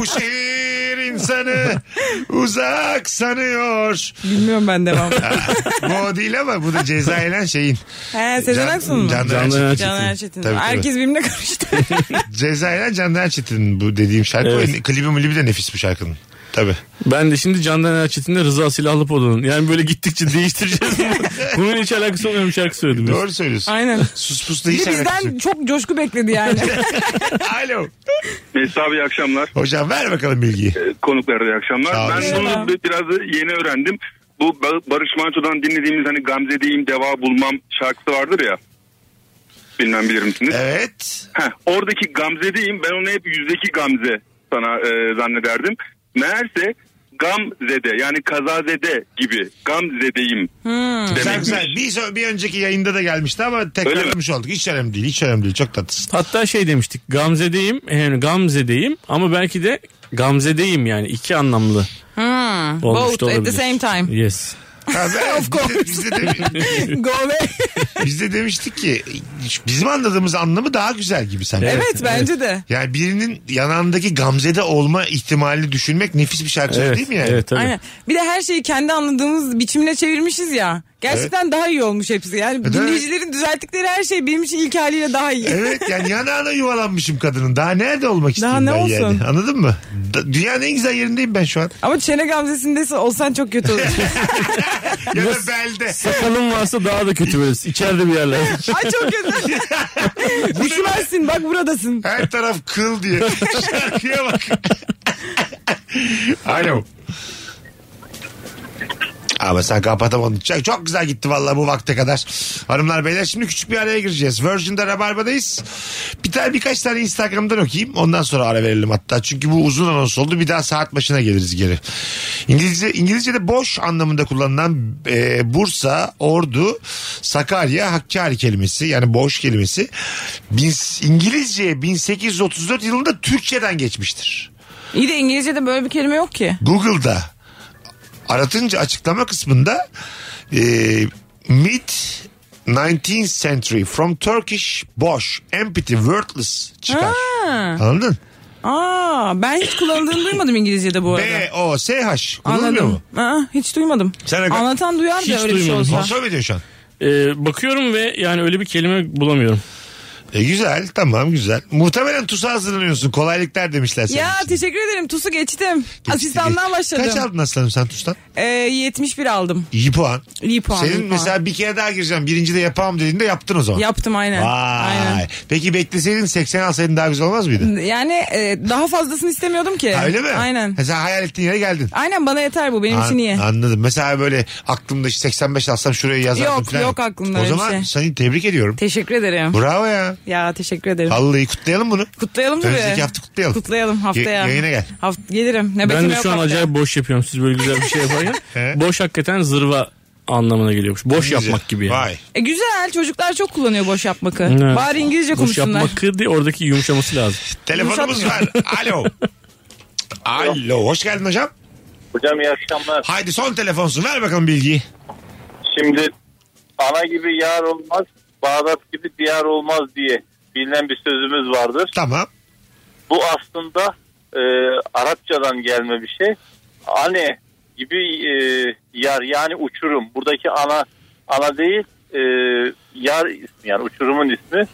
[SPEAKER 2] Bu şehir insanı uzak sanıyor.
[SPEAKER 7] Bilmiyorum ben devam.
[SPEAKER 2] bu o değil ama bu da ceza ile şeyin.
[SPEAKER 7] He Sezen Aksu mu?
[SPEAKER 2] Can, Candan
[SPEAKER 3] Candan
[SPEAKER 2] Erçetin.
[SPEAKER 3] Erçetin.
[SPEAKER 7] Caner Çetin.
[SPEAKER 2] Tabii, tabii.
[SPEAKER 7] Herkes birbirine karıştı.
[SPEAKER 2] Ceza ile Candan Erçetin bu dediğim şarkı.
[SPEAKER 3] Evet.
[SPEAKER 2] O Klibi mulibi de nefis bu şarkının. Tabii.
[SPEAKER 3] Ben de şimdi Candan Erçetin'le Rıza Silahlıpoğlu'nun. Yani böyle gittikçe değiştireceğiz. bunu. Bunun hiç alakası olmayan bir şarkı söyledim.
[SPEAKER 2] Doğru söylüyorsun.
[SPEAKER 7] Aynen.
[SPEAKER 2] Sus pusla
[SPEAKER 7] Bir
[SPEAKER 2] hiç
[SPEAKER 7] de
[SPEAKER 2] alakası
[SPEAKER 7] bizden
[SPEAKER 2] yok.
[SPEAKER 7] çok coşku bekledi yani.
[SPEAKER 2] Alo.
[SPEAKER 4] Mesut abi iyi akşamlar.
[SPEAKER 2] Hocam ver bakalım bilgiyi.
[SPEAKER 4] Konuklara da iyi
[SPEAKER 2] Sağ
[SPEAKER 4] akşamlar.
[SPEAKER 2] olun.
[SPEAKER 4] Ben bunu
[SPEAKER 7] Merhaba.
[SPEAKER 4] bi- biraz da yeni öğrendim. Bu Ba- Barış Manço'dan dinlediğimiz hani Gamze diyeyim deva bulmam şarkısı vardır ya. Bilmem bilir misiniz?
[SPEAKER 2] Evet.
[SPEAKER 4] Heh, oradaki Gamze diyeyim ben onu hep yüzdeki Gamze sana e, zannederdim. Meğerse Gamzede yani kazazede gibi Gamzedeyim.
[SPEAKER 2] Güzel
[SPEAKER 4] Demekmiş.
[SPEAKER 2] güzel. Bir, so- bir önceki yayında da gelmişti ama tekrarlamış olduk. Hiç önemli değil. Hiç önemli değil. Çok tatlısın.
[SPEAKER 3] Hatta şey demiştik Gamze'deyim yani Gamze'deyim ama belki de Gamze'deyim yani iki anlamlı
[SPEAKER 7] Hmm.
[SPEAKER 3] olmuş
[SPEAKER 7] Both
[SPEAKER 3] da olabilir.
[SPEAKER 7] at the same time.
[SPEAKER 3] Yes.
[SPEAKER 2] Ha, ben- biz de- Biz de, demi-
[SPEAKER 7] Go away.
[SPEAKER 2] biz de demiştik ki bizim anladığımız anlamı daha güzel gibi sanki.
[SPEAKER 7] Evet bence de.
[SPEAKER 2] Yani birinin yanağındaki gamzede olma ihtimalini düşünmek nefis bir şarkı
[SPEAKER 3] Evet,
[SPEAKER 2] değil mi yani?
[SPEAKER 3] evet tabii.
[SPEAKER 7] Aynen. Bir de her şeyi kendi anladığımız biçimine çevirmişiz ya. Gerçekten daha iyi olmuş hepsi. Yani
[SPEAKER 2] Evet.
[SPEAKER 7] dinleyicilerin düzelttikleri her şey benim için ilk haliyle daha iyi.
[SPEAKER 2] Evet yani yanağına yuvalanmışım kadının. Daha nerede olmak
[SPEAKER 7] Daha
[SPEAKER 2] istiyorum
[SPEAKER 7] ne
[SPEAKER 2] ben yani.
[SPEAKER 7] olsun?
[SPEAKER 2] Anladın mı? Da- dünyanın en güzel yerindeyim ben şu an.
[SPEAKER 7] Ama çene gamzesindeyse olsan çok kötü olur.
[SPEAKER 2] Ya da belde.
[SPEAKER 3] Sakalın varsa daha da kötü böyle. İçeride bir yerler.
[SPEAKER 7] Ay çok kötü. Düşmezsin bak buradasın.
[SPEAKER 2] Her taraf kıl diye. Şarkıya bak. Alo. Ama sen kapatamadın. Çok, çok güzel gitti vallahi bu vakte kadar. Hanımlar beyler şimdi küçük bir araya gireceğiz. Virgin'de Rabarba'dayız. Bir tane birkaç tane Instagram'dan okuyayım. Ondan sonra ara verelim hatta. Çünkü bu uzun anons oldu. Bir daha saat başına geliriz geri. İngilizce İngilizce'de boş anlamında kullanılan e, Bursa, Ordu, Sakarya, Hakkari kelimesi yani boş kelimesi bin, İngilizce 1834 yılında Türkçeden geçmiştir.
[SPEAKER 7] İyi de İngilizce'de böyle bir kelime yok ki.
[SPEAKER 2] Google'da aratınca açıklama kısmında e, mid 19th century from Turkish boş empty wordless çıkar.
[SPEAKER 7] Ha.
[SPEAKER 2] Anladın?
[SPEAKER 7] Aa, ben hiç kullanıldığını duymadım İngilizce'de bu arada.
[SPEAKER 2] B O S H kullanılmıyor mu?
[SPEAKER 7] Anladım. Aa, hiç duymadım.
[SPEAKER 2] Sen-
[SPEAKER 7] Anlatan duyar
[SPEAKER 3] Hiç
[SPEAKER 7] da öyle bir şey
[SPEAKER 3] duymadım.
[SPEAKER 7] olsa.
[SPEAKER 2] Kontrol mü ediyor şu an?
[SPEAKER 3] Ee, bakıyorum ve yani öyle bir kelime bulamıyorum.
[SPEAKER 2] E, güzel tamam güzel. Muhtemelen TUS'a hazırlanıyorsun. Kolaylıklar demişler senin
[SPEAKER 7] Ya
[SPEAKER 2] için.
[SPEAKER 7] teşekkür ederim. TUS'u geçtim. Asistandan başladım.
[SPEAKER 2] Kaç aldın aslanım sen TUS'tan?
[SPEAKER 7] Ee, 71 aldım.
[SPEAKER 2] İyi puan.
[SPEAKER 7] İyi puan. iyi
[SPEAKER 2] Senin
[SPEAKER 7] puan.
[SPEAKER 2] mesela bir kere daha gireceğim. Birinci de yapamam dediğinde yaptın o zaman.
[SPEAKER 7] Yaptım aynen.
[SPEAKER 2] Vay.
[SPEAKER 7] Aynen.
[SPEAKER 2] Peki bekleseydin 80 alsaydın daha güzel olmaz mıydı?
[SPEAKER 7] Yani e, daha fazlasını istemiyordum ki.
[SPEAKER 2] Ha, öyle mi?
[SPEAKER 7] Aynen.
[SPEAKER 2] Ha, sen hayal ettiğin yere geldin.
[SPEAKER 7] Aynen bana yeter bu benim için
[SPEAKER 2] An-
[SPEAKER 7] iyi.
[SPEAKER 2] Anladım. Mesela böyle aklımda işte 85 alsam şuraya yazardım
[SPEAKER 7] Yok,
[SPEAKER 2] falan.
[SPEAKER 7] yok aklımda
[SPEAKER 2] O
[SPEAKER 7] öyle bir
[SPEAKER 2] zaman
[SPEAKER 7] şey.
[SPEAKER 2] seni tebrik ediyorum.
[SPEAKER 7] Teşekkür ederim.
[SPEAKER 2] Bravo ya.
[SPEAKER 7] Ya teşekkür ederim.
[SPEAKER 2] Vallahi kutlayalım bunu.
[SPEAKER 7] Kutlayalım tabii.
[SPEAKER 2] Önümüzdeki hafta kutlayalım.
[SPEAKER 7] Kutlayalım haftaya.
[SPEAKER 2] Ya- yayına gel.
[SPEAKER 7] Haft- gelirim. Nöbetim
[SPEAKER 3] Ben de
[SPEAKER 7] yok
[SPEAKER 3] şu an
[SPEAKER 7] haftaya.
[SPEAKER 3] acayip boş yapıyorum. Siz böyle güzel bir şey yaparken.
[SPEAKER 2] He?
[SPEAKER 3] boş hakikaten zırva anlamına geliyormuş. Boş yapmak gibi yani.
[SPEAKER 2] Vay.
[SPEAKER 7] E, güzel çocuklar çok kullanıyor boş yapmakı.
[SPEAKER 3] Evet.
[SPEAKER 7] Bari İngilizce
[SPEAKER 3] Boş
[SPEAKER 7] konuşsunlar.
[SPEAKER 3] yapmak diye oradaki yumuşaması lazım.
[SPEAKER 2] Telefonumuz var.
[SPEAKER 7] Yumuşatmıyor.
[SPEAKER 2] Alo. Alo. Hoş geldin hocam.
[SPEAKER 4] Hocam iyi akşamlar.
[SPEAKER 2] Haydi son telefonsun. Ver bakalım bilgiyi.
[SPEAKER 4] Şimdi ana gibi yar olmaz, Bağdat gibi diyar olmaz diye bilinen bir sözümüz vardır.
[SPEAKER 2] Tamam.
[SPEAKER 4] Bu aslında e, Arapçadan gelme bir şey. Ane gibi e, yar yani uçurum. Buradaki ana ana değil e, yar ismi yani uçurumun ismi.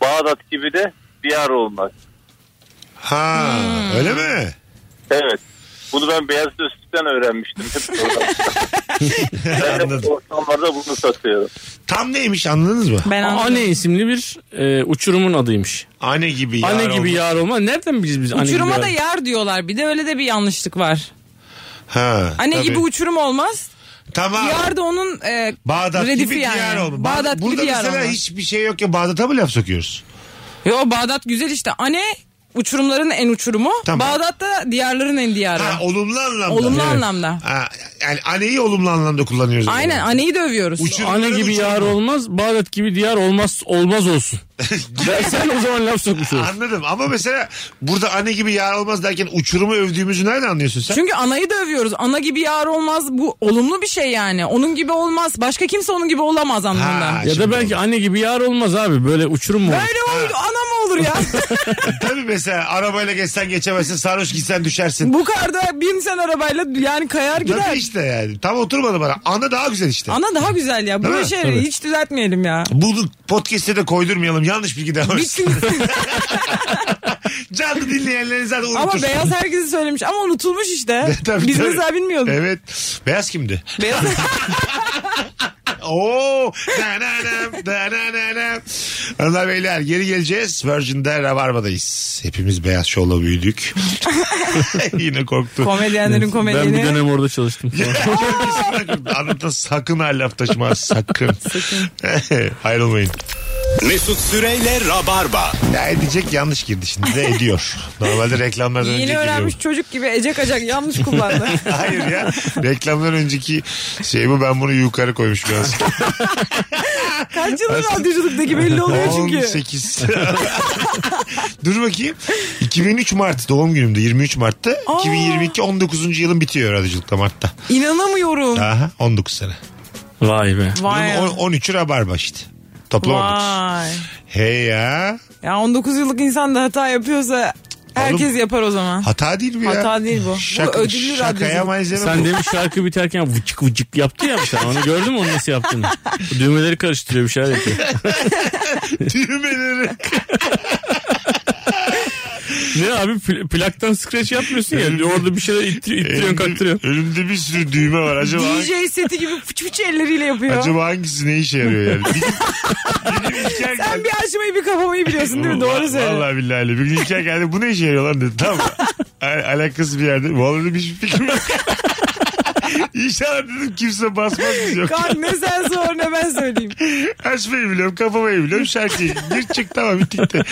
[SPEAKER 4] Bağdat gibi de diyar olmaz.
[SPEAKER 2] Ha,
[SPEAKER 7] Hmm.
[SPEAKER 2] öyle mi?
[SPEAKER 4] Evet. Bunu ben Beyaz Öztürk'ten öğrenmiştim. Hep oradan. ben de
[SPEAKER 2] Anladım.
[SPEAKER 4] bu ortamlarda bunu satıyorum.
[SPEAKER 2] Tam neymiş anladınız mı?
[SPEAKER 7] Ben anladım.
[SPEAKER 3] Ane isimli bir e, uçurumun adıymış.
[SPEAKER 2] Anne gibi yar
[SPEAKER 3] Anne gibi
[SPEAKER 2] olmak.
[SPEAKER 3] yar olma. Nereden biliriz biz anne gibi
[SPEAKER 7] Uçuruma
[SPEAKER 3] yar?
[SPEAKER 7] da yar diyorlar. Bir de öyle de bir yanlışlık var.
[SPEAKER 2] Ha,
[SPEAKER 7] Anne
[SPEAKER 2] tabii.
[SPEAKER 7] gibi uçurum olmaz.
[SPEAKER 2] Tamam.
[SPEAKER 7] Yar da onun e,
[SPEAKER 2] Bağdat
[SPEAKER 7] redifi
[SPEAKER 2] gibi
[SPEAKER 7] yani.
[SPEAKER 2] diyar olma.
[SPEAKER 7] Bağdat gibi
[SPEAKER 2] Burada
[SPEAKER 7] diyar
[SPEAKER 2] mesela
[SPEAKER 7] olma.
[SPEAKER 2] hiçbir şey yok ya Bağdat'a mı laf sokuyoruz?
[SPEAKER 7] Yo Bağdat güzel işte. Ane uçurumların en uçurumu.
[SPEAKER 2] Tamam.
[SPEAKER 7] Bağdat da diyarların en diyarı.
[SPEAKER 2] Ha, olumlu anlamda.
[SPEAKER 7] Olumlu anlamda.
[SPEAKER 2] Ha, yani aneyi olumlu anlamda kullanıyoruz. o
[SPEAKER 7] Aynen
[SPEAKER 2] zaman.
[SPEAKER 7] aneyi de övüyoruz.
[SPEAKER 2] Uçurum.
[SPEAKER 3] Anne gibi yar olmaz, Bağdat gibi diyar olmaz olmaz olsun. Dersen o zaman laf sokmuş olursun.
[SPEAKER 2] Anladım ama mesela burada anne gibi yar olmaz derken uçurumu övdüğümüzü nereden anlıyorsun sen?
[SPEAKER 7] Çünkü anayı da övüyoruz. Ana gibi yar olmaz. Bu olumlu bir şey yani. Onun gibi olmaz. Başka kimse onun gibi olamaz anlamında.
[SPEAKER 2] Ha,
[SPEAKER 3] Ya da
[SPEAKER 2] şimdi
[SPEAKER 3] belki anne gibi yar olmaz abi. Böyle uçurum mu olur?
[SPEAKER 7] Öyle oldu. Ana mı olur ya?
[SPEAKER 2] Tabii mesela arabayla geçsen geçemezsin sarhoş gitsen düşersin.
[SPEAKER 7] Bu karda bin sen arabayla yani kayar gider.
[SPEAKER 2] Tabii işte yani tam oturmadı bana. Ana daha güzel işte.
[SPEAKER 7] Ana daha güzel ya.
[SPEAKER 2] Değil mi?
[SPEAKER 7] Bu şeyleri hiç düzeltmeyelim ya.
[SPEAKER 2] Bunu podcast'e de koydurmayalım. Yanlış bilgi devam etsin.
[SPEAKER 7] Bitsin.
[SPEAKER 2] Canlı dinleyenleri zaten unutur.
[SPEAKER 7] ama beyaz herkesi söylemiş ama unutulmuş işte.
[SPEAKER 2] Tabii,
[SPEAKER 7] Biz
[SPEAKER 2] tabii.
[SPEAKER 7] mesela bilmiyorduk.
[SPEAKER 2] Evet. Beyaz kimdi?
[SPEAKER 7] Beyaz...
[SPEAKER 2] Oo. Dananam, dananam. Hanımlar beyler geri geleceğiz. Virgin'de Rabarba'dayız. Hepimiz Beyaz Şov'la büyüdük. Yine korktu.
[SPEAKER 7] Komedyenlerin
[SPEAKER 3] Ben bir
[SPEAKER 7] komedini.
[SPEAKER 3] dönem orada çalıştım.
[SPEAKER 2] Anlatan sakın ha laf taşıma sakın. Ayrılmayın.
[SPEAKER 1] Mesut Süreyle Rabarba.
[SPEAKER 2] Ya edecek yanlış girdi şimdi de ediyor. Normalde reklamlardan önce
[SPEAKER 7] Yeni
[SPEAKER 2] giriyor.
[SPEAKER 7] öğrenmiş çocuk gibi ecek acak yanlış kullandı.
[SPEAKER 2] Hayır ya. Reklamdan önceki şey bu ben bunu yukarı koymuş biraz.
[SPEAKER 7] Kaç yıldır radyoculuktaki belli oluyor çünkü.
[SPEAKER 2] 18. Dur bakayım. 2003 Mart doğum günümde 23 Mart'ta.
[SPEAKER 7] Aa.
[SPEAKER 2] 2022 19. yılım bitiyor radyoculukta Mart'ta.
[SPEAKER 7] İnanamıyorum.
[SPEAKER 2] Aha 19 sene.
[SPEAKER 3] Vay be.
[SPEAKER 7] Vay.
[SPEAKER 2] Bunun on- 13'ü rabarba işte. Toplam 19.
[SPEAKER 7] Vay.
[SPEAKER 2] Hey ya.
[SPEAKER 7] Ya 19 yıllık insan da hata yapıyorsa Herkes yapar o zaman.
[SPEAKER 2] Hata değil bu ya.
[SPEAKER 7] Hata değil bu. bu
[SPEAKER 2] Şaka-
[SPEAKER 7] ödüllü
[SPEAKER 2] şakaya
[SPEAKER 7] radyoculuk.
[SPEAKER 2] malzeme
[SPEAKER 3] Sen demiş şarkı biterken vıcık vıcık yaptı ya bir tane. Onu gördün mü onu nasıl yaptığını? Bu Düğmeleri karıştırıyor bir şeyler yapıyor.
[SPEAKER 2] Düğmeleri.
[SPEAKER 3] Ne abi pl- plaktan scratch yapmıyorsun ya. Orada bir şeyler ittiriyor, ittiriyorsun
[SPEAKER 2] Önümde-
[SPEAKER 3] kaktırıyorsun.
[SPEAKER 2] Önümde bir sürü düğme var. Acaba
[SPEAKER 7] DJ seti gibi fıç fıç elleriyle yapıyor.
[SPEAKER 2] acaba hangisi ne işe yarıyor yani? Bir gün, bir gün İlker
[SPEAKER 7] Sen bir açmayı bir kapamayı biliyorsun değil mi? Doğru söylüyorsun.
[SPEAKER 2] Vallahi billahi. öyle. Bir gün İlker geldi bu ne işe yarıyor lan dedi. Tamam. mı? Al- alakası bir yerde. Vallahi bir fikrim yok. İnşallah dedim kimse basmaz biz yok.
[SPEAKER 7] Kan ne sen sor ne ben söyleyeyim.
[SPEAKER 2] Açmayı biliyorum, kapamayı biliyorum. Şarkıyı bir çık tamam bitti gitti.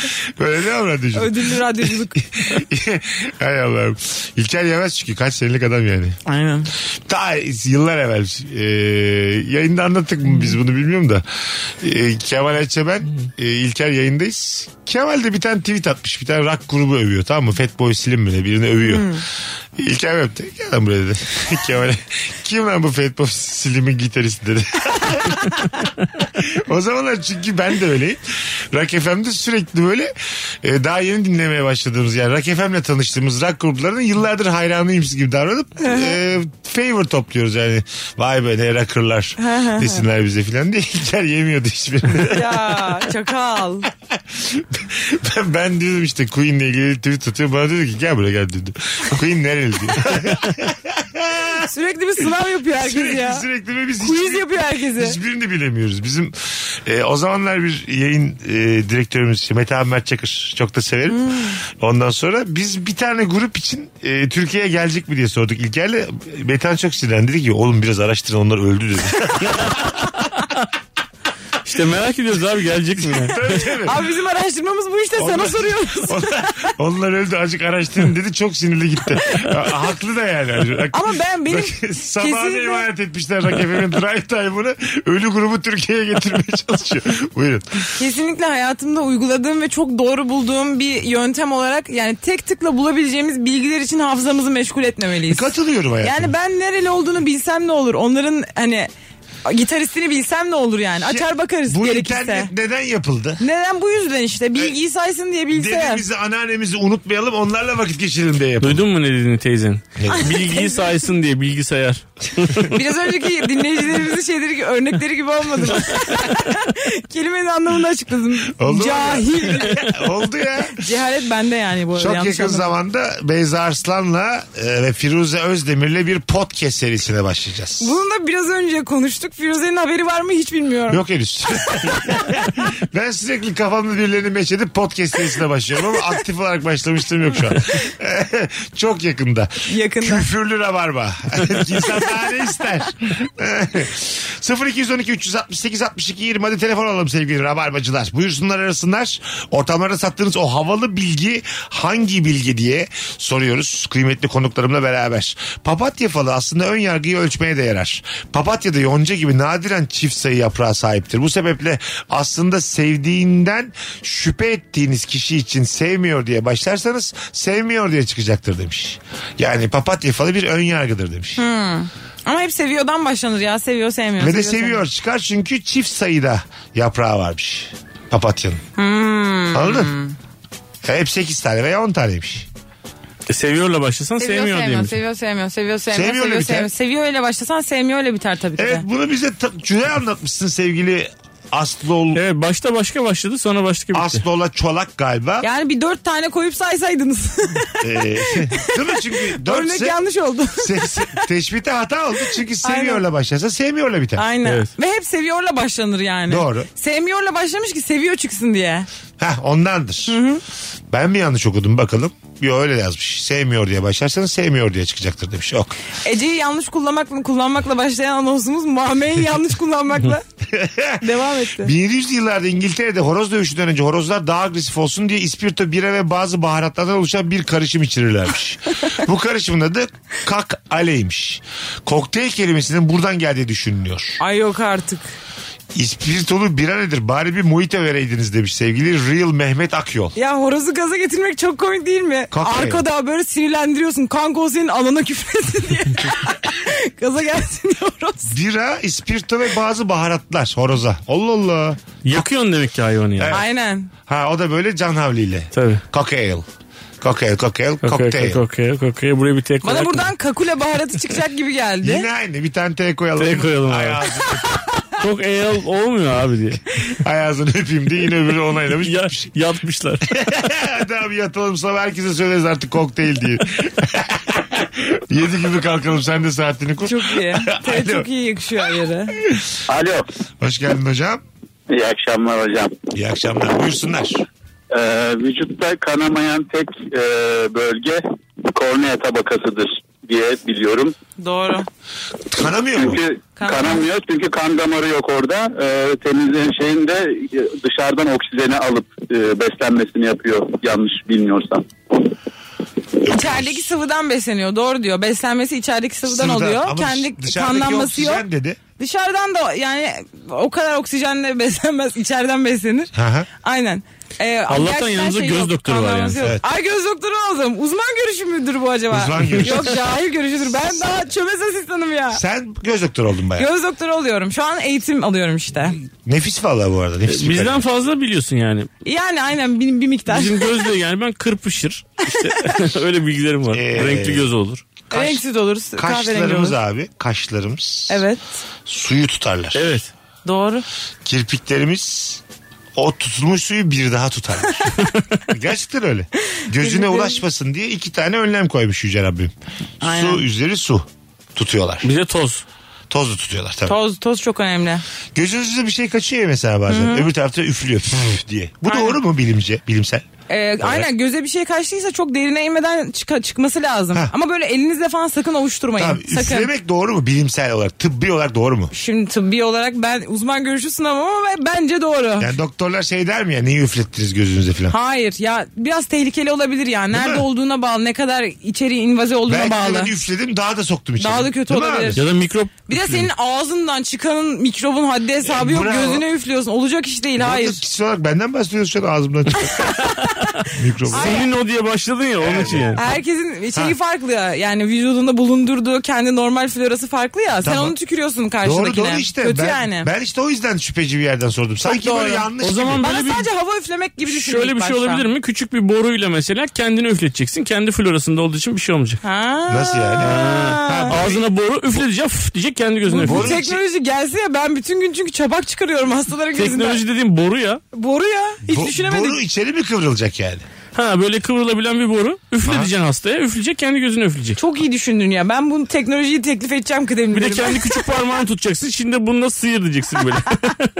[SPEAKER 2] Böyle ne avrat düşün.
[SPEAKER 7] Ödüllü radyoculuk.
[SPEAKER 2] Hay Allah'ım. İlker Yemez çünkü kaç senelik adam yani.
[SPEAKER 3] Aynen.
[SPEAKER 2] Ta yıllar evvel e, yayında anlattık mı biz bunu bilmiyorum da e, Kemal Ayça ben e, İlker yayındayız. Kemal de bir tane tweet atmış bir tane rock grubu övüyor tamam mı? Fatboy Slim mi ne birini övüyor. İlker mi yaptı? Gel lan buraya dedi. Kemal'e kim lan bu Fatboy Slim'in gitaristi dedi. o zamanlar çünkü ben de öyleyim. Rock FM'de sürekli böyle e, daha yeni dinlemeye başladığımız yani Rock FM'le tanıştığımız rock gruplarının yıllardır hayranıyım gibi davranıp e, favor topluyoruz yani. Vay be ne rockerlar desinler bize filan diye. İlker yemiyordu hiçbirini.
[SPEAKER 7] ya çakal.
[SPEAKER 2] ben, ben diyordum işte Queen'le ilgili tweet atıyor. Bana diyordu ki gel buraya gel diyordu. Queen nereli diyor.
[SPEAKER 7] Sürekli bir sınav yapıyor herkes
[SPEAKER 2] sürekli
[SPEAKER 7] ya.
[SPEAKER 2] sürekli ve biz
[SPEAKER 7] Quiz
[SPEAKER 2] hiçbir-
[SPEAKER 7] yapıyor herkesi.
[SPEAKER 2] Hiçbirini bilemiyoruz. Bizim e, o zamanlar bir yayın e, direktörümüz işte Mete Ahmet Çakır çok da severim.
[SPEAKER 7] Hmm.
[SPEAKER 2] Ondan sonra biz bir tane grup için e, Türkiye'ye gelecek mi diye sorduk İlker'le. Metehan çok sinirlendi dedi ki oğlum biraz araştırın onlar öldü dedi.
[SPEAKER 3] İşte merak ediyoruz abi gelecek mi? ya?
[SPEAKER 2] Tabii, tabii.
[SPEAKER 7] Abi bizim araştırmamız bu işte sana soruyoruz.
[SPEAKER 2] Onlar, onlar öldü azıcık araştırın dedi çok sinirli gitti. Ha- Haklı da yani. Hani
[SPEAKER 7] Ama ben- benim
[SPEAKER 2] Sabahına
[SPEAKER 7] kesinlikle-
[SPEAKER 2] emanet etmişler rakibimin drive time'ını ölü grubu Türkiye'ye getirmeye çalışıyor. Buyurun.
[SPEAKER 7] Kesinlikle hayatımda uyguladığım ve çok doğru bulduğum bir yöntem olarak yani tek tıkla bulabileceğimiz bilgiler için hafızamızı meşgul
[SPEAKER 2] E,
[SPEAKER 7] etmemeliyiz.
[SPEAKER 2] Katılıyorum hayatım.
[SPEAKER 7] Yani ben nereli olduğunu bilsem ne olur? Onların hani gitaristini bilsem ne olur yani? Açar bakarız
[SPEAKER 2] Şey, Bu
[SPEAKER 7] gerekirse.
[SPEAKER 2] internet E, neden yapıldı?
[SPEAKER 7] Neden bu yüzden işte bilgiyi saysın diye bilgisayar.
[SPEAKER 2] Dedemizi anneannemizi unutmayalım onlarla vakit geçirelim diye yapalım.
[SPEAKER 3] Duydun mu ne dediğini teyzen?
[SPEAKER 2] Ne?
[SPEAKER 3] Bilgiyi saysın diye bilgisayar.
[SPEAKER 7] Biraz önceki dinleyicilerimizin şeyleri gibi- örnekleri gibi olmadı mı? Kelimenin anlamını açıkladım.
[SPEAKER 2] Oldu mu?
[SPEAKER 7] Cahil.
[SPEAKER 2] Oldu ya.
[SPEAKER 7] Cehalet bende yani bu arada.
[SPEAKER 2] Çok
[SPEAKER 7] yanlış
[SPEAKER 2] yakın
[SPEAKER 7] anlama.
[SPEAKER 2] zamanda Beyza Arslan'la e, ve Firuze Özdemir'le bir podcast serisine başlayacağız.
[SPEAKER 7] Bunu da biraz önce konuştuk. Firuze'nin haberi var mı hiç bilmiyorum.
[SPEAKER 2] Yok henüz. ben sürekli kafamda birilerini meç edip podcast serisine başlıyorum ama aktif olarak başlamıştım yok şu an. Çok yakında.
[SPEAKER 7] Yakında.
[SPEAKER 2] Küfürlü rabarba. İnsan daha ne ister? 0212 368 62 20 hadi telefon alalım sevgili rabarbacılar. Buyursunlar arasınlar. Ortamlarda sattığınız o havalı bilgi hangi bilgi diye soruyoruz kıymetli konuklarımla beraber. Papatya falı aslında ön yargıyı ölçmeye de yarar. Papatya da yonca gibi nadiren çift sayı yaprağa sahiptir. Bu sebeple aslında sevdiğinden şüphe ettiğiniz kişi için sevmiyor diye başlarsanız sevmiyor diye çıkacaktır demiş. Yani papatya falı bir ön yargıdır demiş.
[SPEAKER 7] Ama hep seviyordan başlanır ya. Seviyor sevmiyor.
[SPEAKER 2] Ve de
[SPEAKER 7] sevmiyor.
[SPEAKER 2] seviyor çıkar çünkü çift sayıda yaprağı varmış. Papatyanın. Anladın? Hep 8 tane veya 10 taneymiş.
[SPEAKER 3] E, seviyorla başlasan
[SPEAKER 7] Seviyor
[SPEAKER 3] sevmiyor,
[SPEAKER 7] sevmiyor,
[SPEAKER 3] diyemiş.
[SPEAKER 7] seviyor sevmiyor seviyor sevmiyor
[SPEAKER 2] Seviyor
[SPEAKER 7] seviyor
[SPEAKER 2] öyle
[SPEAKER 7] seviyor
[SPEAKER 2] biter.
[SPEAKER 7] sevmiyor. Seviyor öyle başlasan sevmiyor öyle biter tabii ki
[SPEAKER 2] Evet
[SPEAKER 7] de.
[SPEAKER 2] bunu bize ta- Cüneyt anlatmışsın sevgili Aslıol
[SPEAKER 3] Evet başta başka başladı sonra başka bitti.
[SPEAKER 2] Aslıola Çolak galiba.
[SPEAKER 7] Yani bir dört tane koyup saysaydınız.
[SPEAKER 2] Ee, değil mi? Çünkü 4
[SPEAKER 7] Örnek yanlış oldu.
[SPEAKER 2] teşbite hata oldu. Çünkü seviyorla başlarsa sevmiyorla biter.
[SPEAKER 7] Aynen.
[SPEAKER 3] Evet.
[SPEAKER 7] Ve hep seviyorla başlanır yani.
[SPEAKER 2] Doğru.
[SPEAKER 7] Sevmiyorla başlamış ki seviyor çıksın diye.
[SPEAKER 2] Heh, ondandır. Ben mi yanlış okudum bakalım. Yo öyle yazmış. Sevmiyor diye başlarsanız sevmiyor diye çıkacaktır demiş. Yok.
[SPEAKER 7] Ece'yi yanlış kullanmak, kullanmakla başlayan anonsumuz Muhammed'i yanlış kullanmakla devam etti.
[SPEAKER 2] 1700'lü yıllarda İngiltere'de horoz dövüşünden önce horozlar daha agresif olsun diye ispirto bira ve bazı baharatlardan oluşan bir karışım içirirlermiş. Bu karışımın adı kak aleymiş. Kokteyl kelimesinin buradan geldiği düşünülüyor.
[SPEAKER 7] Ay yok artık.
[SPEAKER 2] İspirtolu bira nedir? Bari bir mojito vereydiniz demiş sevgili Real Mehmet Akyol.
[SPEAKER 7] Ya horozu gaza getirmek çok komik değil mi?
[SPEAKER 2] Kanka ya.
[SPEAKER 7] Arkada böyle sinirlendiriyorsun. Kanka o senin alana küfresin diye. gaza gelsin diye horoz.
[SPEAKER 2] Bira, ispirto ve bazı baharatlar horoza. Allah Allah.
[SPEAKER 3] Yakıyorsun demek ki hayvanı ya.
[SPEAKER 2] Evet.
[SPEAKER 7] Aynen.
[SPEAKER 2] Ha o da böyle can havliyle.
[SPEAKER 3] Tabii.
[SPEAKER 2] Cocktail. Kokteyl, kokteyl,
[SPEAKER 3] Kokteyl,
[SPEAKER 2] kokteyl.
[SPEAKER 3] kokteyl, kokteyl. Buraya bir tek
[SPEAKER 7] Bana
[SPEAKER 3] olarak-
[SPEAKER 7] buradan kakule baharatı çıkacak gibi geldi.
[SPEAKER 2] Yine aynı. Bir tane T koyalım.
[SPEAKER 3] T koyalım abi.
[SPEAKER 2] Ay ağzını,
[SPEAKER 3] Çok eyal olmuyor abi diye.
[SPEAKER 2] ay ağzını öpeyim diye yine öbürü onaylamış.
[SPEAKER 3] Ya, yatmışlar.
[SPEAKER 2] Hadi abi yatalım sabah herkese söyleriz artık kokteyl diye. Yedi gibi kalkalım sen de saatini kur.
[SPEAKER 7] Çok iyi. Te
[SPEAKER 2] Alo.
[SPEAKER 7] çok iyi yakışıyor yere.
[SPEAKER 6] Alo.
[SPEAKER 2] Hoş geldin hocam.
[SPEAKER 6] İyi akşamlar hocam.
[SPEAKER 2] İyi akşamlar. Buyursunlar.
[SPEAKER 6] Ee, vücutta kanamayan tek e, bölge kornea tabakasıdır diye biliyorum.
[SPEAKER 7] Doğru.
[SPEAKER 2] Kanamıyor mu?
[SPEAKER 6] Çünkü
[SPEAKER 7] Kan-
[SPEAKER 6] kanamıyor çünkü kan damarı yok orada. Ee, temizliğin şeyinde e, dışarıdan oksijeni alıp e, beslenmesini yapıyor yanlış bilmiyorsam.
[SPEAKER 7] İçerideki sıvıdan besleniyor. Doğru diyor. Beslenmesi içerideki sıvıdan
[SPEAKER 2] Sıvıdan.
[SPEAKER 7] oluyor.
[SPEAKER 2] Ama
[SPEAKER 7] Kendi
[SPEAKER 2] dışarıdaki
[SPEAKER 7] kanlanması yok.
[SPEAKER 2] oksijen dedi.
[SPEAKER 7] Dışarıdan da yani o kadar oksijenle beslenmez. içeriden beslenir.
[SPEAKER 2] Hı hı.
[SPEAKER 7] Aynen. Ee,
[SPEAKER 3] Allah'tan
[SPEAKER 7] gerçekten
[SPEAKER 3] yanınızda göz
[SPEAKER 7] yok,
[SPEAKER 3] doktoru var yani.
[SPEAKER 7] kanlaması yok.
[SPEAKER 2] Evet.
[SPEAKER 7] Ay göz doktoru lazım. Uzman görüşü müdür bu acaba?
[SPEAKER 2] Uzman görüşü.
[SPEAKER 7] Yok cahil görüşüdür. Ben daha çömez asistanım ya.
[SPEAKER 2] Sen göz doktoru oldun bayağı.
[SPEAKER 7] Göz doktoru oluyorum. Şu an eğitim alıyorum işte.
[SPEAKER 2] Nefis valla bu arada. Nefis bir
[SPEAKER 3] Bizden
[SPEAKER 2] kalem.
[SPEAKER 3] fazla biliyorsun yani.
[SPEAKER 7] Yani aynen bir, bir miktar.
[SPEAKER 3] Bizim gözle yani ben kırpışır. İşte öyle bilgilerim var.
[SPEAKER 2] Ee,
[SPEAKER 3] Renkli göz olur.
[SPEAKER 2] kaş-
[SPEAKER 7] Renksiz oluruz. Kahverengi
[SPEAKER 2] Kaşlarımız
[SPEAKER 7] oluruz.
[SPEAKER 2] abi. Kaşlarımız.
[SPEAKER 7] Evet.
[SPEAKER 2] Suyu tutarlar.
[SPEAKER 3] Evet.
[SPEAKER 7] Doğru.
[SPEAKER 2] Kirpiklerimiz o tutulmuş suyu bir daha tutarlar. Gerçekten öyle. Gözüne ulaşmasın diye iki tane önlem koymuş Yüce Rabbim.
[SPEAKER 7] Aynen.
[SPEAKER 2] Su üzeri su tutuyorlar.
[SPEAKER 3] Bize toz.
[SPEAKER 2] Tozlu tutuyorlar tabii.
[SPEAKER 7] Toz toz çok önemli.
[SPEAKER 2] Gözünüzde bir şey kaçıyor ya mesela bazen. Öbür tarafta üflüyor püf diye. Bu
[SPEAKER 7] Aynen.
[SPEAKER 2] doğru mu bilimce, bilimsel?
[SPEAKER 7] Ee, Aynen göze bir şey kaçtıysa çok derine inmeden çıka- çıkması lazım.
[SPEAKER 2] Heh.
[SPEAKER 7] Ama böyle elinizle falan sakın ovuşturmayın.
[SPEAKER 2] Tamam,
[SPEAKER 7] sakın.
[SPEAKER 2] üflemek doğru mu bilimsel olarak? Tıbbi olarak doğru mu?
[SPEAKER 7] Şimdi tıbbi olarak ben uzman görüşü sunamam ama ben- bence doğru.
[SPEAKER 2] Yani doktorlar şey der mi ya neyi üflettiniz gözünüze filan?
[SPEAKER 7] Hayır ya biraz tehlikeli olabilir ya. Nerede
[SPEAKER 2] mi?
[SPEAKER 7] olduğuna bağlı, ne kadar içeriği invaze olduğuna
[SPEAKER 2] Belki de
[SPEAKER 7] bağlı.
[SPEAKER 2] ben üfledim daha da soktum içeri.
[SPEAKER 7] Daha da kötü
[SPEAKER 2] Değil mi
[SPEAKER 7] olabilir.
[SPEAKER 2] abi?
[SPEAKER 3] Ya da mikrop.
[SPEAKER 7] Bir de senin ağzından çıkanın mikrobun haddi hesabı yok.
[SPEAKER 2] E, bravo.
[SPEAKER 7] Gözüne üflüyorsun. Olacak iş değil.
[SPEAKER 2] Hayır.
[SPEAKER 7] Hayır.
[SPEAKER 2] Kişisel olarak benden bahsediyorsun şu an ağzımdan çıkıyor. Mikrofon.
[SPEAKER 3] Senin o diye başladın ya onun için şey yani.
[SPEAKER 7] Herkesin şeyi farklı ya. Yani vücudunda bulundurduğu kendi normal florası farklı ya. Sen
[SPEAKER 2] Tamam.
[SPEAKER 7] onu tükürüyorsun
[SPEAKER 2] Doğru
[SPEAKER 7] karşıdakine.
[SPEAKER 2] doğru işte.
[SPEAKER 7] şey Kötü
[SPEAKER 2] ben,
[SPEAKER 7] yani.
[SPEAKER 2] ben işte o yüzden şüpheci bir yerden sordum. Sanki
[SPEAKER 7] doğru.
[SPEAKER 2] böyle yanlış
[SPEAKER 3] O zaman
[SPEAKER 7] Bana
[SPEAKER 3] böyle bir
[SPEAKER 7] sadece hava üflemek gibi düşündüm.
[SPEAKER 3] şöyle bir şey olabilir mi? Küçük bir boruyla mesela kendini üfleteceksin. Kendi florasında olduğu için bir şey olmayacak.
[SPEAKER 7] Ha.
[SPEAKER 2] Nasıl yani?
[SPEAKER 7] Ha.
[SPEAKER 3] Ağzına boru üfletecek fıf diyecek kendi gözüne
[SPEAKER 7] Bu
[SPEAKER 3] üfletecek.
[SPEAKER 7] teknoloji gelse ya ben bütün gün çünkü çabak çıkarıyorum hastaların gözünden.
[SPEAKER 3] Teknoloji dediğim boru ya.
[SPEAKER 7] Boru ya. Hiç
[SPEAKER 2] Bo-
[SPEAKER 7] düşünemedik.
[SPEAKER 2] Boru içeri mi kıvrılacak yani?
[SPEAKER 3] Ha böyle kıvrılabilen bir boru. Üfleteceksin hastaya. Üfleyecek kendi gözüne üfleyecek.
[SPEAKER 7] Çok iyi düşündün ya. Ben bu teknolojiyi teklif edeceğim kıdemli.
[SPEAKER 3] Bir de kendi küçük parmağını tutacaksın. Şimdi bunu nasıl sıyır diyeceksin böyle.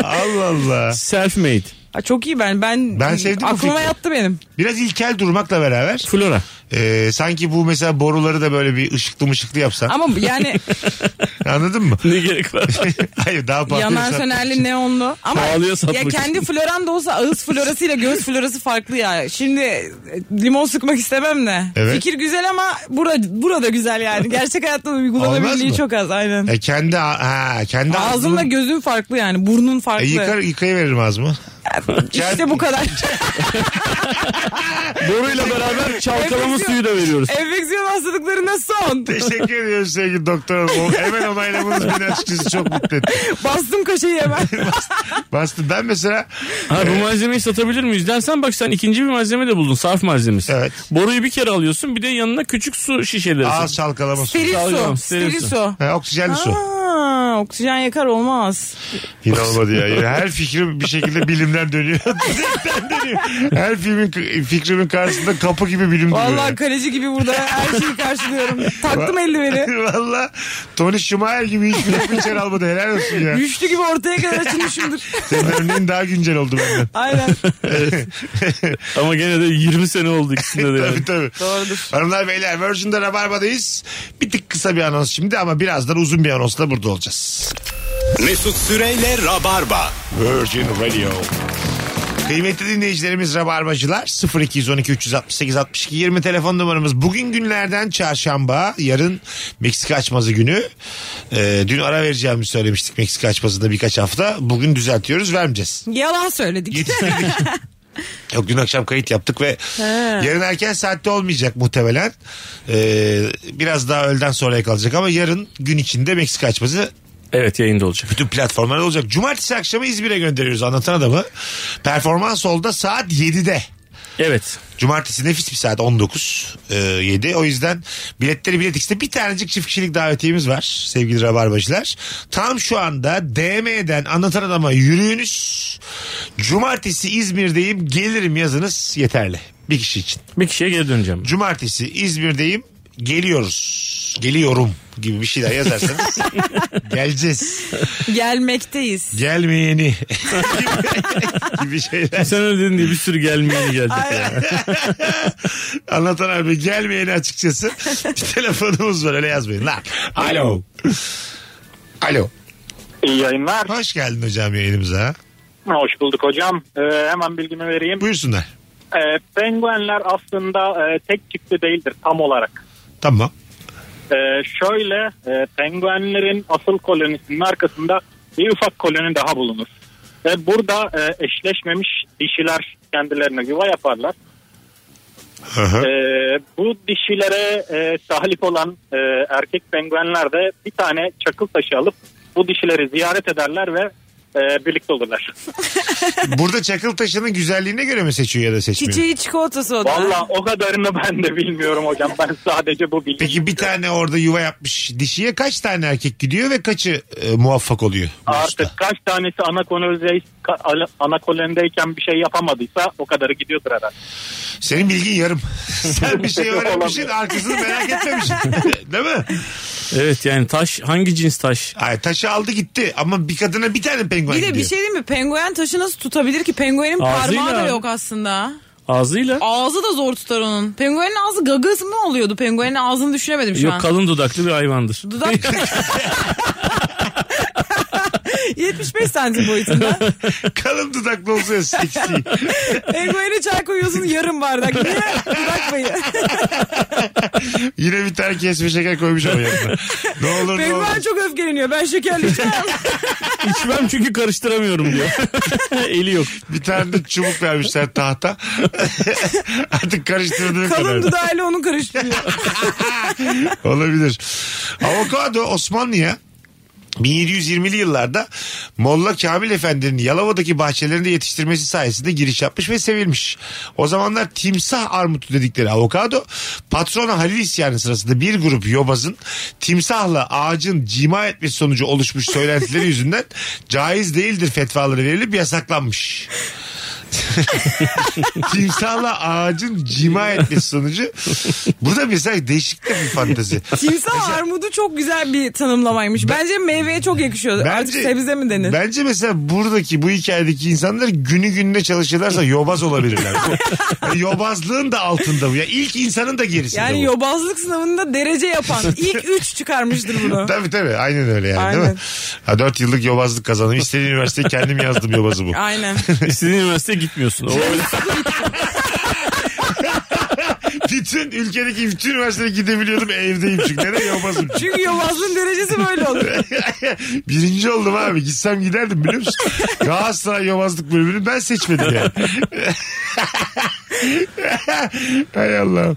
[SPEAKER 2] Allah Allah.
[SPEAKER 3] Self made.
[SPEAKER 7] Ha, çok iyi ben. Ben,
[SPEAKER 2] Ben sevdim bu
[SPEAKER 7] aklıma
[SPEAKER 2] fikri.
[SPEAKER 7] yattı benim.
[SPEAKER 2] Biraz ilkel durmakla beraber
[SPEAKER 3] Flora.
[SPEAKER 2] e, sanki bu mesela boruları da böyle bir ışıklı mışıklı yapsan.
[SPEAKER 7] Ama yani
[SPEAKER 2] Anladın mı?
[SPEAKER 3] Ne gerek var?
[SPEAKER 2] Hayır daha pahalı.
[SPEAKER 7] yanan
[SPEAKER 2] Sen-
[SPEAKER 7] sönerli neonlu. Ama
[SPEAKER 3] Pahalıya
[SPEAKER 7] ya
[SPEAKER 3] satmak
[SPEAKER 7] kendi
[SPEAKER 3] için.
[SPEAKER 7] floran da olsa ağız florasıyla göz florası farklı ya. Şimdi e, limon sıkmak istemem de.
[SPEAKER 2] Evet.
[SPEAKER 7] Fikir güzel ama bura, burada güzel yani. Gerçek hayatta
[SPEAKER 2] Olmaz
[SPEAKER 7] uygulanabilirliği
[SPEAKER 2] mı?
[SPEAKER 7] çok az aynen.
[SPEAKER 2] E, kendi a- ha, kendi
[SPEAKER 7] Ağzınla
[SPEAKER 2] ağzını-
[SPEAKER 7] gözün farklı yani. Burnun farklı.
[SPEAKER 2] e, yıkar, yıkayıveririm ağzımı.
[SPEAKER 7] işte bu kadar.
[SPEAKER 3] Boruyla beraber çalkalama
[SPEAKER 7] Enfeksiyon-
[SPEAKER 3] suyu da veriyoruz.
[SPEAKER 7] Enfeksiyon hastalıklarına son.
[SPEAKER 2] Teşekkür ediyorum sevgili doktor hanım. O- Hemen onaylamanız beni açıkçası çok mutlu etti.
[SPEAKER 7] Bastım kaşeyi hemen.
[SPEAKER 2] Bastı. Ben mesela
[SPEAKER 3] Ha, bu malzemeyi satabilir miyiz dersen bak sen ikinci bir malzeme de buldun. Sarf malzemesi.
[SPEAKER 2] Evet.
[SPEAKER 3] Boruyu bir kere alıyorsun bir de yanına küçük su şişeleri.
[SPEAKER 2] ağız çalkalama su.
[SPEAKER 7] Steril su.
[SPEAKER 3] Dalgam,
[SPEAKER 7] Steril
[SPEAKER 3] steril
[SPEAKER 7] su.
[SPEAKER 2] Ha, oksijenli su.
[SPEAKER 7] Aa, oksijen yakar olmaz.
[SPEAKER 2] Yine olmadı ya. Yine her fikrim bir şekilde bilimden dönüyor. Direkten dönüyor. Her filmin fikrimin karşısında kapı gibi bilim duruyor.
[SPEAKER 7] Vallahi kaleci gibi burada her şeyi karşılıyorum. Taktım eldiveni.
[SPEAKER 2] Valla Tony Schumacher gibi hiç bilim içeri almadı. Helal olsun ya.
[SPEAKER 7] Güçlü gibi ortaya kadar açılmışımdır.
[SPEAKER 2] Senin örneğin daha güncel oldu benden.
[SPEAKER 7] Aynen.
[SPEAKER 3] Ama gene de 20 sene oldu ikisinde de yani.
[SPEAKER 2] tabii tabii.
[SPEAKER 7] Doğrudur.
[SPEAKER 2] Hanımlar beyler Virgin'de Rabarba'dayız. Bir tık kısa bir anons şimdi ama birazdan uzun bir anonsla burada olacağız.
[SPEAKER 1] Mesut Süreyle Rabarba.
[SPEAKER 2] Virgin Radio. Kıymetli dinleyicilerimiz Rabarbacılar 0212 368 62 20 telefon numaramız. Bugün günlerden çarşamba yarın Meksika açmazı günü. Ee, dün ara vereceğimi söylemiştik Meksika açmazında birkaç hafta. Bugün düzeltiyoruz vermeyeceğiz.
[SPEAKER 7] Yalan söyledik.
[SPEAKER 2] Yetiştirdik. Yok dün akşam kayıt yaptık ve yarın erken saatte olmayacak muhtemelen. Ee, biraz daha öğleden sonraya kalacak ama yarın gün içinde Meksika açmazı
[SPEAKER 3] Evet yayında olacak.
[SPEAKER 2] bütün platformlarda olacak. Cumartesi akşamı İzmir'e gönderiyoruz anlatan adamı. Performans Hall'da saat 7'de.
[SPEAKER 3] Evet.
[SPEAKER 2] Cumartesi nefis bir saat 19 e, 7. O yüzden biletleri Bilet X'te bir tanecik çift kişilik davetiyemiz var sevgili Rabarbacılar. Tam şu anda DM'den anlatan adama yürüyünüz. Cumartesi İzmir'deyim gelirim yazınız yeterli. Bir kişi için.
[SPEAKER 3] Bir kişiye geri döneceğim.
[SPEAKER 2] Cumartesi İzmir'deyim geliyoruz. Geliyorum gibi bir şeyler yazarsanız geleceğiz.
[SPEAKER 7] Gelmekteyiz.
[SPEAKER 2] Gelmeyeni gibi şeyler.
[SPEAKER 3] Sen öyle dedin diye bir sürü gelmeyeni geldik ya.
[SPEAKER 2] Anlatan abi gelmeyeni açıkçası. Bir telefonumuz var öyle yazmayın lan. Alo. Alo.
[SPEAKER 11] İyi yayınlar.
[SPEAKER 2] Hoş geldin hocam yayınımıza.
[SPEAKER 11] Hoş bulduk hocam. Ee, hemen bilgimi vereyim.
[SPEAKER 2] Buyursunlar.
[SPEAKER 11] Ee, penguenler aslında e, tek tipli değildir tam olarak.
[SPEAKER 2] Tamam.
[SPEAKER 11] Ee, şöyle e, penguenlerin asıl kolonisinin arkasında bir ufak koloni daha bulunur. Ve burada e, eşleşmemiş dişiler kendilerine yuva yaparlar. Ee, bu dişilere e, sahip olan e, erkek penguenler de bir tane çakıl taşı alıp bu dişileri ziyaret ederler ve e, birlikte olurlar.
[SPEAKER 2] Burada çakıl taşının güzelliğine göre mi seçiyor ya da seçmiyor?
[SPEAKER 7] Çiçeği çikolatası o da.
[SPEAKER 11] Valla o kadarını ben de bilmiyorum hocam. Ben sadece bu bilgi.
[SPEAKER 2] Peki bir tane orada yuva yapmış dişiye kaç tane erkek gidiyor ve kaçı e, muvaffak oluyor?
[SPEAKER 11] Artık kaç tanesi ana kolonide- ka- ala- ana kolonideyken bir şey yapamadıysa o kadarı gidiyordur herhalde.
[SPEAKER 2] Senin bilgin yarım. Sen bir şey öğrenmişsin arkasını merak etmemişsin. Değil mi?
[SPEAKER 3] Evet yani taş hangi cins taş?
[SPEAKER 2] Ay taşı aldı gitti ama bir kadına bir tane penguen
[SPEAKER 7] Bir de bir
[SPEAKER 2] gidiyor.
[SPEAKER 7] şey değil mi? Penguen taşı nasıl tutabilir ki? Penguenin
[SPEAKER 3] Ağzıyla.
[SPEAKER 7] parmağı da yok aslında.
[SPEAKER 3] Ağzıyla.
[SPEAKER 7] Ağzı da zor tutar onun. Penguenin ağzı gagası mı oluyordu? Penguenin ağzını düşünemedim şu an.
[SPEAKER 3] Yok kalın dudaklı bir hayvandır.
[SPEAKER 7] Dudak... 75 santim boyutunda.
[SPEAKER 2] Kalın dudaklı olsa ya seksi.
[SPEAKER 7] Penguene çay koyuyorsun yarım bardak. Niye? Dudak payı.
[SPEAKER 2] Yine bir tane kesme şeker koymuş ama yanına. Ne olur ne olur.
[SPEAKER 7] Penguen çok öfkeleniyor. Ben şekerli içmem.
[SPEAKER 3] İçmem çünkü karıştıramıyorum diyor. Eli yok.
[SPEAKER 2] Bir tane de çubuk vermişler tahta. Artık karıştırdığın
[SPEAKER 7] Kalın
[SPEAKER 2] kadar.
[SPEAKER 7] dudağıyla onu karıştırıyor.
[SPEAKER 2] Olabilir. Avokado Osmanlı'ya 1720'li yıllarda Molla Kamil Efendi'nin Yalova'daki bahçelerinde yetiştirmesi sayesinde giriş yapmış ve sevilmiş. O zamanlar timsah armutu dedikleri avokado patrona Halil isyanı sırasında bir grup yobazın timsahla ağacın cima etmesi sonucu oluşmuş söylentileri yüzünden caiz değildir fetvaları verilip yasaklanmış. Timsahla ağacın cima etmesi sonucu. Burada mesela değişik de bir fantezi. Şey-
[SPEAKER 7] Timsah armudu çok güzel bir tanımlamaymış. Bence meyveye çok yakışıyor. Artık sebze mi denir?
[SPEAKER 2] Bence mesela buradaki bu hikayedeki insanlar günü gününe çalışırlarsa yobaz olabilirler. Bu- Yobazlığın da altında bu. Ya ilk insanın da gerisinde
[SPEAKER 7] Yani
[SPEAKER 2] bu.
[SPEAKER 7] yobazlık sınavında derece yapan ilk 3 çıkarmıştır bunu.
[SPEAKER 2] Tabii tabii aynen öyle yani değil mi?
[SPEAKER 7] Aynen.
[SPEAKER 2] Ha, 4 yıllık yobazlık kazandım. İstediğim üniversiteyi kendim yazdım yobazı bu.
[SPEAKER 7] Aynen.
[SPEAKER 3] İstediğin üniversiteye gitmiyorsun. O öyle.
[SPEAKER 2] bütün ülkedeki bütün üniversiteye gidebiliyordum evdeyim çünkü. Nereye yobazım?
[SPEAKER 7] Çünkü yobazlığın derecesi böyle olur.
[SPEAKER 2] Birinci oldum abi. Gitsem giderdim biliyor musun? Galatasaray yobazlık bölümünü ben seçmedim yani. Hay Allah.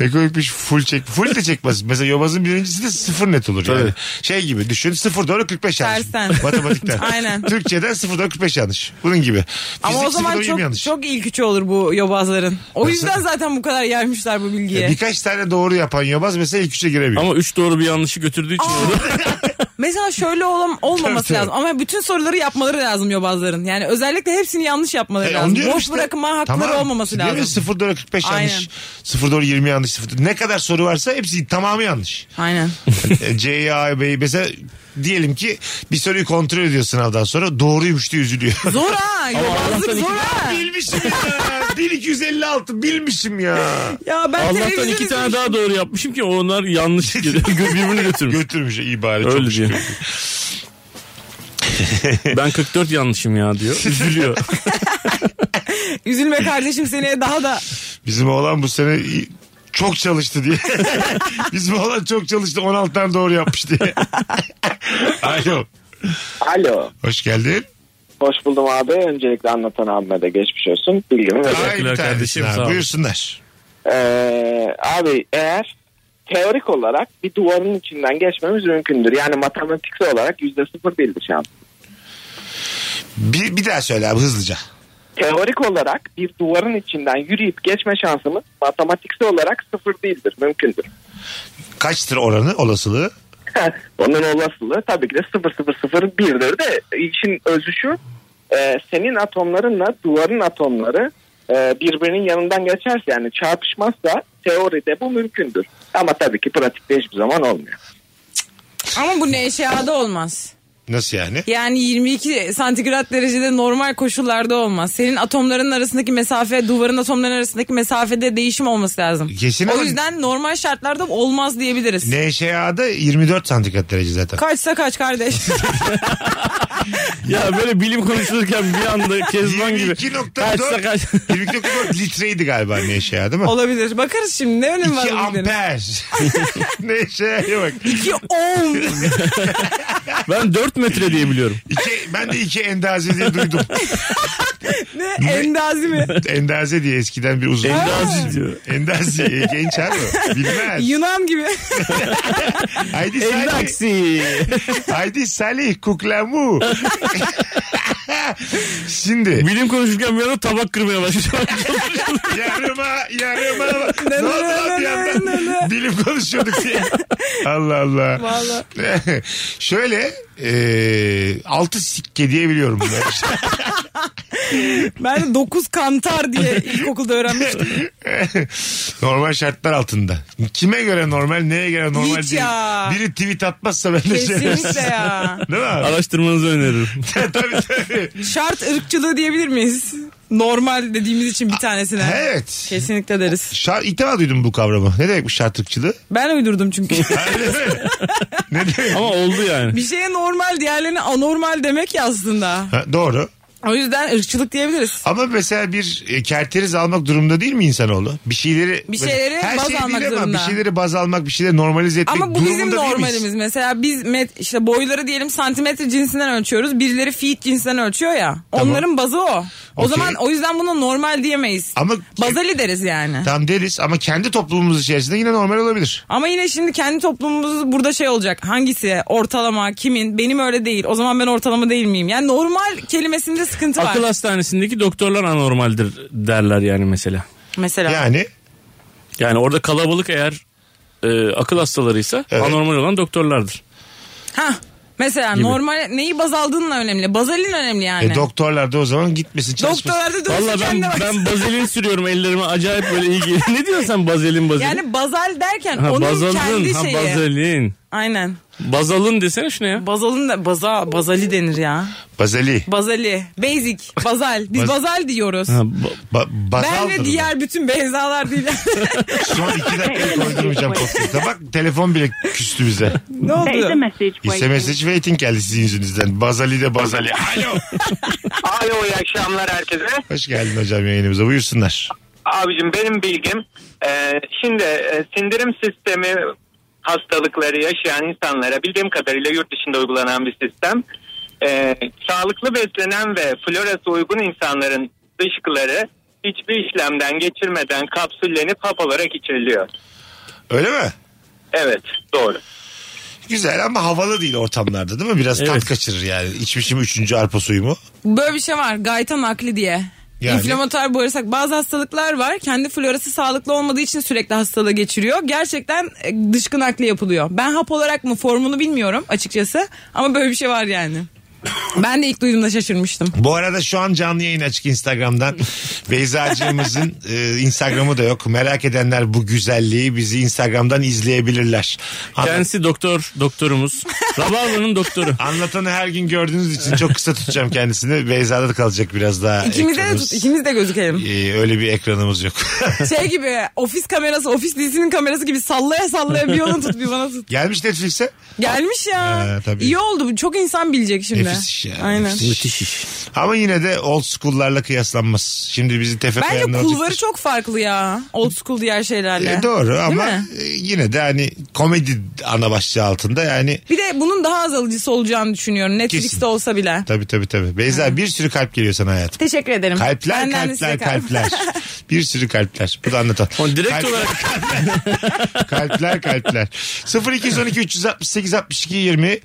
[SPEAKER 2] Ne koymuş full çek. Full de çekmez. Mesela yobazın birincisi de sıfır net olur yani. Şey gibi düşün. Sıfır doğru 45 yanlış.
[SPEAKER 7] Tersten.
[SPEAKER 2] Matematikten.
[SPEAKER 7] Aynen.
[SPEAKER 2] Türkçeden sıfır doğru 45 yanlış. Bunun gibi.
[SPEAKER 7] Ama o
[SPEAKER 2] Fizik sıfır
[SPEAKER 7] zaman
[SPEAKER 2] doğru yirmi
[SPEAKER 7] çok,
[SPEAKER 2] yanlış.
[SPEAKER 7] çok ilk üçü olur bu yobazların. O
[SPEAKER 2] Nasıl?
[SPEAKER 7] yüzden zaten bu kadar yaymışlar bu
[SPEAKER 2] Ya
[SPEAKER 7] bilgiye.
[SPEAKER 2] Birkaç tane doğru yapan yobaz mesela ilk üçe giremiyor.
[SPEAKER 3] Ama üç doğru bir yanlışı götürdüğü için orada
[SPEAKER 7] Mesela şöyle olam olmaması
[SPEAKER 2] Tabii, tabii.
[SPEAKER 7] lazım ama bütün soruları yapmaları lazım yobazların. Yani özellikle hepsini yanlış yapmaları
[SPEAKER 2] E, onu
[SPEAKER 7] lazım.
[SPEAKER 2] diyorum
[SPEAKER 7] Boş
[SPEAKER 2] işte.
[SPEAKER 7] bırakma hakları
[SPEAKER 2] Tamam.
[SPEAKER 7] olmaması
[SPEAKER 2] Diyorum ya,
[SPEAKER 7] lazım.
[SPEAKER 2] 0 doğru 45 yanlış.
[SPEAKER 7] Aynen.
[SPEAKER 2] 0 doğru 20 yanlış. 0. Ne kadar soru varsa hepsi tamamı yanlış.
[SPEAKER 7] Aynen.
[SPEAKER 2] E, C, A, B. Mesela diyelim ki bir soruyu kontrol ediyor sınavdan sonra doğruymuş diye üzülüyor.
[SPEAKER 7] Zor ha yobazlık zor ha.
[SPEAKER 2] bilmişim ya. 1256 bilmişim ya.
[SPEAKER 7] Ya ben
[SPEAKER 3] Allah'tan
[SPEAKER 7] televizyon
[SPEAKER 3] iki tane
[SPEAKER 7] izlemiştim.
[SPEAKER 3] daha doğru yapmışım ki onlar yanlış birbirini götürmüş.
[SPEAKER 2] Götürmüş iyi bari. Çok
[SPEAKER 3] Öyle
[SPEAKER 2] şükür.
[SPEAKER 3] diyor. ben 44 yanlışım ya diyor. Üzülüyor.
[SPEAKER 7] Üzülme kardeşim seneye daha da
[SPEAKER 2] Bizim oğlan bu sene iyi- çok çalıştı diye. Bizim oğlan çok çalıştı 16 tane doğru yapmış diye. Alo.
[SPEAKER 12] Alo.
[SPEAKER 2] Hoş geldin.
[SPEAKER 12] Hoş buldum abi. Öncelikle anlatan abime de geçmiş olsun. Bilgimi veriyorum.
[SPEAKER 2] Ay bir tanesin
[SPEAKER 3] kardeşim,
[SPEAKER 2] abi.
[SPEAKER 3] sağ ol.
[SPEAKER 2] Buyursunlar.
[SPEAKER 12] Ee, abi eğer teorik olarak bir duvarın içinden geçmemiz mümkündür. Yani matematiksel olarak yüzde sıfır değildir şans.
[SPEAKER 2] Bir, bir daha söyle abi hızlıca.
[SPEAKER 12] teorik olarak bir duvarın içinden yürüyüp geçme şansımız matematiksel olarak sıfır değildir. Mümkündür.
[SPEAKER 2] Kaçtır oranı olasılığı?
[SPEAKER 12] Onun olasılığı tabii ki de 0001'dir de işin özü şu e, senin atomlarınla duvarın atomları e, birbirinin yanından geçerse yani çarpışmazsa teoride bu mümkündür. Ama tabii ki pratikte hiçbir zaman olmuyor.
[SPEAKER 7] Ama bu neşeada olmaz.
[SPEAKER 2] Nasıl yani?
[SPEAKER 7] Yani 22 santigrat derecede normal koşullarda olmaz. Senin atomların arasındaki mesafe, duvarın atomların arasındaki mesafede değişim olması lazım.
[SPEAKER 2] Kesin
[SPEAKER 7] o
[SPEAKER 2] ama-
[SPEAKER 7] yüzden normal şartlarda olmaz diyebiliriz.
[SPEAKER 2] NŞA'da 24 santigrat derece zaten.
[SPEAKER 7] Kaçsa kaç kardeş.
[SPEAKER 3] Ya böyle bilim konuşulurken bir anda Kezban gibi.
[SPEAKER 2] 22.4 22.4 litreydi galiba NŞA değil mi?
[SPEAKER 7] Olabilir. Bakarız şimdi ne önemi var
[SPEAKER 2] 2
[SPEAKER 7] bu bilginin?
[SPEAKER 2] amper. NŞA'ya bak.
[SPEAKER 7] 2 ohm.
[SPEAKER 3] Ben 4 metre diye biliyorum.
[SPEAKER 2] İki, ben de iki endaze diye duydum.
[SPEAKER 7] Ne? Endazi mi?
[SPEAKER 2] endaze diye eskiden bir uzun.
[SPEAKER 3] Endazi diyor.
[SPEAKER 2] Endaze genç abi. o. Bilmez.
[SPEAKER 7] Yunan gibi.
[SPEAKER 2] Haydi Salih. Haydi Salih kuklamu. Şimdi.
[SPEAKER 3] Bilim konuşurken bir anda tabak kırmaya başladı.
[SPEAKER 2] Yarıma yarıma. ne oldu lan bir yandan? Bilim konuşuyorduk diye. Allah Allah.
[SPEAKER 7] Vallahi.
[SPEAKER 2] Şöyle e, altı sikke diye biliyorum bunları.
[SPEAKER 7] Ben de 9 kantar diye ilkokulda öğrenmiştim.
[SPEAKER 2] normal şartlar altında. Kime göre normal, neye göre normal
[SPEAKER 7] Hiç
[SPEAKER 2] değil.
[SPEAKER 7] ya.
[SPEAKER 2] Biri tweet atmazsa ben de
[SPEAKER 7] Kesinlikle ya.
[SPEAKER 2] Değil mi? abi?
[SPEAKER 3] Araştırmanızı öneririm.
[SPEAKER 2] tabii tabii.
[SPEAKER 7] Şart ırkçılığı diyebilir miyiz? Normal dediğimiz için bir tanesine.
[SPEAKER 2] Evet.
[SPEAKER 7] Kesinlikle deriz.
[SPEAKER 2] Şar ilk defa duydum bu kavramı. Ne demek bu şartlıkçılığı?
[SPEAKER 7] Ben uydurdum çünkü.
[SPEAKER 2] Öyle mi? ne demek?
[SPEAKER 3] Ama oldu yani.
[SPEAKER 7] bir şeye normal diğerlerine anormal demek ya aslında.
[SPEAKER 2] Ha, doğru.
[SPEAKER 7] O yüzden ırkçılık diyebiliriz.
[SPEAKER 2] Ama mesela bir e, kerteriz almak durumda değil mi insanoğlu? Bir şeyleri
[SPEAKER 7] Bir şeyleri
[SPEAKER 2] her
[SPEAKER 7] baz
[SPEAKER 2] şey
[SPEAKER 7] almak
[SPEAKER 2] değil ama
[SPEAKER 7] zorunda.
[SPEAKER 2] bir şeyleri baz almak, bir şeyleri normalize etmek
[SPEAKER 7] Ama bu bizim
[SPEAKER 2] durumunda değil miyiz?
[SPEAKER 7] normalimiz. Mesela biz met, işte boyları diyelim santimetre cinsinden ölçüyoruz. Birileri feet cinsinden ölçüyor ya.
[SPEAKER 2] Tamam.
[SPEAKER 7] Onların bazı o. O
[SPEAKER 2] Okey.
[SPEAKER 7] zaman o yüzden buna normal diyemeyiz.
[SPEAKER 2] Ama
[SPEAKER 7] Bazali deriz yani.
[SPEAKER 2] tam deriz ama kendi toplumumuz içerisinde yine normal olabilir.
[SPEAKER 7] Ama yine şimdi kendi toplumumuz burada şey olacak. Hangisi ortalama kimin benim öyle değil. O zaman ben ortalama değil miyim? Yani normal kelimesinde sıkıntı var.
[SPEAKER 3] Akıl hastanesindeki doktorlar anormaldir derler yani mesela.
[SPEAKER 7] Mesela.
[SPEAKER 2] Yani e,
[SPEAKER 3] Yani orada kalabalık eğer e, akıl hastalarıysa anormal olan doktorlardır.
[SPEAKER 7] Ha. Mesela
[SPEAKER 3] Gibi.
[SPEAKER 7] normal neyi baz aldığınla önemli. Bazalin önemli yani.
[SPEAKER 2] E, doktorlar da o zaman gitmesin çalışmasın.
[SPEAKER 7] Doktorlarda dönsün
[SPEAKER 3] Valla ben,
[SPEAKER 7] kendine bak.
[SPEAKER 3] ben bazelin sürüyorum ellerime acayip böyle iyi geliyor. Ne diyorsun sen bazelin bazelin?
[SPEAKER 7] Yani bazal derken
[SPEAKER 3] ha,
[SPEAKER 7] onun
[SPEAKER 3] bazalın,
[SPEAKER 7] kendi
[SPEAKER 3] ha,
[SPEAKER 7] şeyi.
[SPEAKER 3] bazelin.
[SPEAKER 7] Aynen.
[SPEAKER 3] Bazalın desene şuna ya.
[SPEAKER 7] Bazalın da baza bazali denir ya.
[SPEAKER 2] Bazali.
[SPEAKER 7] Bazali, basic, bazal. Biz
[SPEAKER 2] Baz-
[SPEAKER 7] bazal diyoruz.
[SPEAKER 3] Ha, ba-
[SPEAKER 2] Ba-
[SPEAKER 7] ben
[SPEAKER 2] bazaldır
[SPEAKER 7] ve
[SPEAKER 2] bu.
[SPEAKER 7] diğer bütün benzalar değil.
[SPEAKER 2] Son iki dakikayı koydurmayacağım podcast'a. Bak telefon bile küstü bize.
[SPEAKER 7] ne oldu?
[SPEAKER 2] SMS hiç waiting geldi sizin yüzünüzden. Bazali de bazali. Alo.
[SPEAKER 13] Alo iyi akşamlar herkese.
[SPEAKER 2] Hoş geldin hocam yayınımıza. Buyursunlar.
[SPEAKER 13] Abicim benim bilgim e, şimdi e, sindirim sistemi hastalıkları yaşayan insanlara bildiğim kadarıyla yurt dışında uygulanan bir sistem. E, sağlıklı beslenen ve florası uygun insanların dışkıları hiçbir işlemden geçirmeden kapsüllenip hap olarak içiriliyor.
[SPEAKER 2] Öyle mi?
[SPEAKER 13] Evet doğru.
[SPEAKER 2] Güzel ama havalı değil ortamlarda değil mi? Biraz tat kaçırır yani. İçmişim üçüncü arpa suyumu.
[SPEAKER 7] Böyle bir şey var. Gaytan akli diye.
[SPEAKER 2] Yani?
[SPEAKER 7] İnflamatuar bağırsak bazı hastalıklar var. Kendi florası sağlıklı olmadığı için sürekli hastalığı geçiriyor. Gerçekten e, dışkı nakli yapılıyor. Ben hap olarak mı formunu bilmiyorum açıkçası. Ama böyle bir şey var yani. Ben de ilk duyduğumda şaşırmıştım.
[SPEAKER 2] Bu arada şu an canlı yayın açık Instagram'dan. Beyza'cığımızın e, Instagram'ı da yok. Merak edenler bu güzelliği bizi Instagram'dan izleyebilirler. Anlat-
[SPEAKER 3] Kendisi doktor, doktorumuz. Rabarba'nın doktoru.
[SPEAKER 2] Anlatanı her gün gördüğünüz için çok kısa tutacağım kendisini. Beyza'da da kalacak biraz daha.
[SPEAKER 7] İkimiz de,
[SPEAKER 2] ekranımız.
[SPEAKER 7] tut, ikimiz de gözükelim.
[SPEAKER 2] Ee, öyle bir ekranımız yok.
[SPEAKER 7] Şey gibi ofis kamerası, ofis dizisinin kamerası gibi sallaya sallaya bir yolun tut bir bana tut.
[SPEAKER 2] Gelmiş Netflix'e.
[SPEAKER 7] Gelmiş ya.
[SPEAKER 2] Ha, Ee, tabii.
[SPEAKER 7] İyi oldu. Çok insan bilecek şimdi.
[SPEAKER 2] Nefis iş ya.
[SPEAKER 7] Aynen.
[SPEAKER 2] nefis iş. Ama yine de old school'larla kıyaslanmaz. Şimdi bizi tefe
[SPEAKER 7] Bence
[SPEAKER 2] koyanlar
[SPEAKER 7] kulvarı
[SPEAKER 2] olacaktır.
[SPEAKER 7] çok farklı ya. Old school diğer şeylerle.
[SPEAKER 2] E, doğru
[SPEAKER 7] Değil
[SPEAKER 2] ama
[SPEAKER 7] mi?
[SPEAKER 2] e, yine de hani komedi ana başlığı altında yani
[SPEAKER 7] Bir de bunun daha az alıcısı olacağını düşünüyorum. Netflix'te
[SPEAKER 2] Kesin.
[SPEAKER 7] olsa bile.
[SPEAKER 2] tabii tabii tabii. Beyza bir sürü kalp geliyor sana hayatım.
[SPEAKER 7] Teşekkür ederim.
[SPEAKER 2] Kalpler
[SPEAKER 7] Benden de size
[SPEAKER 2] kalpler
[SPEAKER 7] kalp.
[SPEAKER 2] kalpler. bir sürü kalpler. Bu da anlatan.
[SPEAKER 3] O direkt
[SPEAKER 2] Kalp-
[SPEAKER 3] olarak
[SPEAKER 2] kalpler kalpler. 0212 368 62 20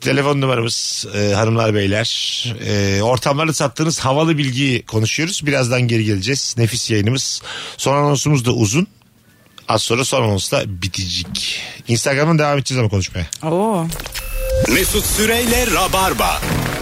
[SPEAKER 2] telefon numaramız. Ee, hanımlar beyler. Ee, ortamlarda sattığınız havalı bilgiyi konuşuyoruz. Birazdan geri geleceğiz. Nefis yayınımız. Son anonsumuz da uzun. Az sonra son anons da bitecek. Instagram'dan devam edeceğiz ama konuşmaya.
[SPEAKER 7] Oo.
[SPEAKER 1] Mesut Süreyle Rabarba.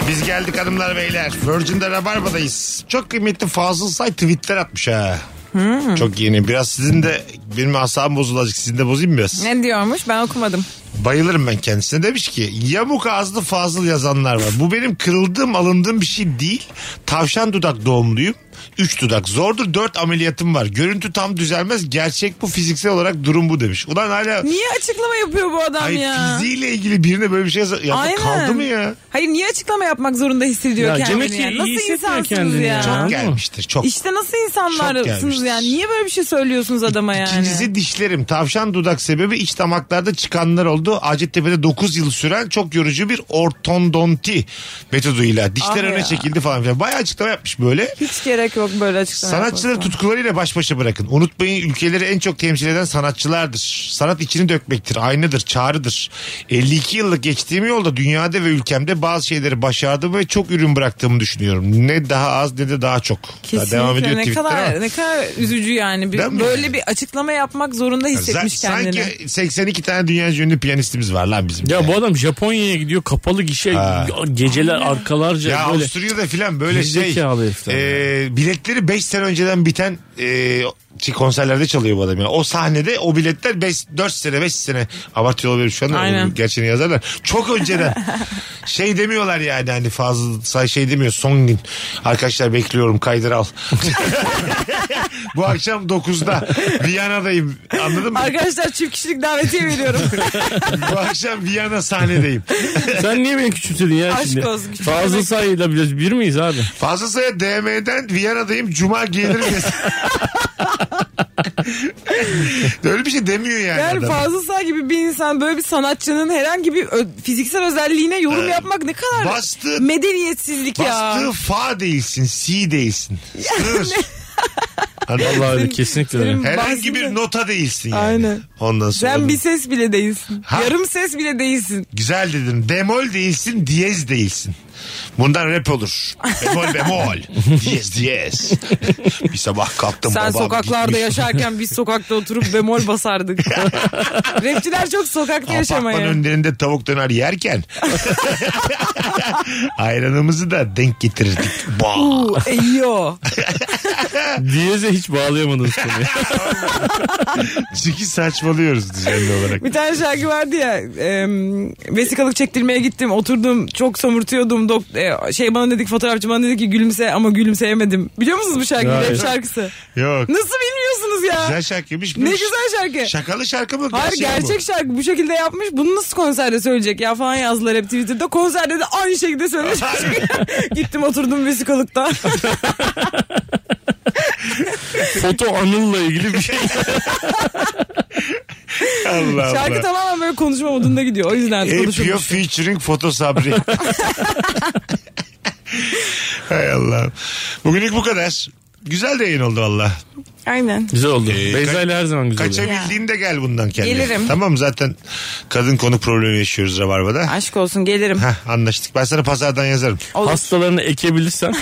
[SPEAKER 2] Biz geldik hanımlar beyler. Virgin'de Rabarba'dayız. Çok kıymetli Fazıl Say tweetler atmış ha.
[SPEAKER 7] Hmm.
[SPEAKER 2] Çok yeni. Biraz sizin de benim asabım bozulacak. Sizin de bozayım mı biraz?
[SPEAKER 7] Ne diyormuş ben okumadım.
[SPEAKER 2] Bayılırım ben kendisine. Demiş ki yamuk ağızlı fazıl yazanlar var. Bu benim kırıldığım alındığım bir şey değil. Tavşan dudak doğumluyum. Üç dudak zordur. Dört ameliyatım var. Görüntü tam düzelmez. Gerçek bu fiziksel olarak durum bu demiş. Ulan hala
[SPEAKER 7] Niye açıklama yapıyor bu adam
[SPEAKER 2] Ay,
[SPEAKER 7] ya?
[SPEAKER 2] fiziğiyle ilgili birine böyle bir şey yaz- yazmak kaldı mı ya?
[SPEAKER 7] Hayır niye açıklama yapmak zorunda hissediyor
[SPEAKER 2] Ya
[SPEAKER 7] kendini?
[SPEAKER 2] demek ki
[SPEAKER 7] yani?
[SPEAKER 2] iyi
[SPEAKER 7] Nasıl
[SPEAKER 2] hissetmiyor
[SPEAKER 7] insansınız
[SPEAKER 2] kendini
[SPEAKER 7] ya?
[SPEAKER 2] ya. Çok gelmiştir, çok.
[SPEAKER 7] İşte nasıl
[SPEAKER 2] Çok
[SPEAKER 7] insanlarsınız
[SPEAKER 2] gelmiştir.
[SPEAKER 7] yani? Niye böyle bir şey söylüyorsunuz adama yani?
[SPEAKER 2] İkincisi dişlerim. Tavşan dudak sebebi iç damaklarda çıkanlar oldu. Hacettepe'de 9 yıl süren çok yorucu bir ortodonti metoduyla. Dişler
[SPEAKER 7] Ah
[SPEAKER 2] öne
[SPEAKER 7] ya.
[SPEAKER 2] çekildi falan filan. Bayağı açıklama yapmış böyle.
[SPEAKER 7] Hiç gerek yok böyle açıklama
[SPEAKER 2] Sanatçıları
[SPEAKER 7] yapmasına.
[SPEAKER 2] tutkularıyla baş başa bırakın. Unutmayın ülkeleri en çok temsil eden sanatçılardır. Sanat içini dökmektir, aynıdır, çağrıdır. 52 yıllık geçtiğim yolda dünyada ve ülkemde bazı şeyleri başardım ve çok ürün bıraktığımı düşünüyorum. Ne daha az ne de daha çok. Daha
[SPEAKER 7] Kesinlikle
[SPEAKER 2] devam ediyor
[SPEAKER 7] ne
[SPEAKER 2] tweetler ama.
[SPEAKER 7] kadar, ne kadar üzücü yani. Bir-
[SPEAKER 2] Değil mi?
[SPEAKER 7] böyle bir açıklama yapmak zorunda hissetmiş
[SPEAKER 2] Zaten
[SPEAKER 7] kendini.
[SPEAKER 2] Sanki 82 tane dünya ünlü piyanistimiz var lan bizim.
[SPEAKER 3] Ya bu adam Japonya'ya gidiyor kapalı gişe geceler arkalarca
[SPEAKER 2] Ya
[SPEAKER 3] böyle.
[SPEAKER 2] Avusturya'da filan böyle şey
[SPEAKER 3] Gerizekalı herifler
[SPEAKER 2] e, biletleri 5 sene önceden biten e, şey, konserlerde çalıyor bu adam ya. O sahnede o biletler 5 4 sene 5 sene abartıyor olabilir şu anda.
[SPEAKER 7] Aynen.
[SPEAKER 2] Gerçeğini yazarlar. Çok önceden şey demiyorlar yani hani fazla say şey demiyor son gün. Arkadaşlar bekliyorum kaydır al. bu akşam 9'da Viyana'dayım. Anladın mı?
[SPEAKER 7] Arkadaşlar çift kişilik davetiye veriyorum.
[SPEAKER 2] bu akşam Viyana sahnedeyim.
[SPEAKER 3] Sen niye beni küçültedin ya
[SPEAKER 7] Aşk
[SPEAKER 3] şimdi?
[SPEAKER 7] olsun, küçültme.
[SPEAKER 3] Fazıl sayıyla biz bir miyiz abi?
[SPEAKER 2] Fazla Say'a DM'den Viyana'dayım cuma gelir misin? Öyle bir şey demiyor yani.
[SPEAKER 7] Yani
[SPEAKER 2] adam.
[SPEAKER 7] Fazıl Say gibi bir insan böyle bir sanatçının herhangi bir ö- fiziksel özelliğine yorum yapmak ne kadar
[SPEAKER 2] bastı-
[SPEAKER 7] medeniyetsizlik
[SPEAKER 2] Bastığı
[SPEAKER 7] ya.
[SPEAKER 2] fa değilsin, si değilsin. Sığır. Anladın mı?
[SPEAKER 3] Vallahi öyle, kesinlikle öyle.
[SPEAKER 7] Senin
[SPEAKER 2] Herhangi
[SPEAKER 7] bahsini-
[SPEAKER 2] bir nota değilsin yani.
[SPEAKER 7] Aynen.
[SPEAKER 2] Ondan sonra.
[SPEAKER 7] Sen bir ses bile değilsin.
[SPEAKER 2] Ha.
[SPEAKER 7] Yarım ses bile değilsin.
[SPEAKER 2] Güzel dedin. Demol değilsin, diyez değilsin. Bundan rap olur. Bemol bemol. diyez diyez. bir sabah kalktım
[SPEAKER 7] Sen
[SPEAKER 2] babam
[SPEAKER 7] sokaklarda
[SPEAKER 2] gitmiş.
[SPEAKER 7] yaşarken biz sokakta oturup bemol basardık. Rapçiler çok sokakta
[SPEAKER 2] Apartman
[SPEAKER 7] yaşamaya.
[SPEAKER 2] önlerinde tavuk döner yerken ayranımızı da denk getirirdik. Bah.
[SPEAKER 7] Uuu eyyo.
[SPEAKER 3] Diyeze hiç bağlayamadınız konuyu.
[SPEAKER 2] Çünkü saçmalıyoruz düzenli olarak.
[SPEAKER 7] Bir tane şarkı vardı ya e, vesikalık çektirmeye gittim oturdum çok somurtuyordum Dok- e, şey bana dedik fotoğrafçı bana dedi ki gülümse ama gülümseyemedim. Biliyor musunuz bu şarkıyı
[SPEAKER 2] Hayır.
[SPEAKER 7] rap şarkısı?
[SPEAKER 2] Yok.
[SPEAKER 7] Nasıl bilmiyorsunuz ya?
[SPEAKER 2] Güzel şarkıymış.
[SPEAKER 7] Ne güzel şarkı.
[SPEAKER 2] Şakalı şarkı mı? şey
[SPEAKER 7] Hayır
[SPEAKER 2] mi
[SPEAKER 7] gerçek
[SPEAKER 2] bu?
[SPEAKER 7] şarkı bu şekilde yapmış. Bunu nasıl konserde söyleyecek ya falan yazdılar hep Twitter'da. Konserde de aynı şekilde söylemiş. Gittim oturdum vesikalıkta.
[SPEAKER 3] Foto anılla ilgili bir şey.
[SPEAKER 2] Allah Allah.
[SPEAKER 7] şarkı tamamen böyle konuşma modunda gidiyor. O yüzden
[SPEAKER 2] Epiyo
[SPEAKER 7] konuşulmuş.
[SPEAKER 2] featuring foto sabri. Hay Allah. Bugünlük bu kadar. Güzel de yayın oldu valla.
[SPEAKER 7] Aynen.
[SPEAKER 3] Güzel oldu.
[SPEAKER 2] Ee,
[SPEAKER 3] Beyza ile her zaman güzel oluyor.
[SPEAKER 2] Kaçabildiğinde gel bundan kendine.
[SPEAKER 7] Gelirim.
[SPEAKER 2] Tamam zaten kadın konuk problemi yaşıyoruz Rabarba'da.
[SPEAKER 7] Aşk olsun gelirim.
[SPEAKER 2] Heh, anlaştık. Ben sana pazardan yazarım.
[SPEAKER 7] Olur.
[SPEAKER 3] Hastalarını ekebilirsen.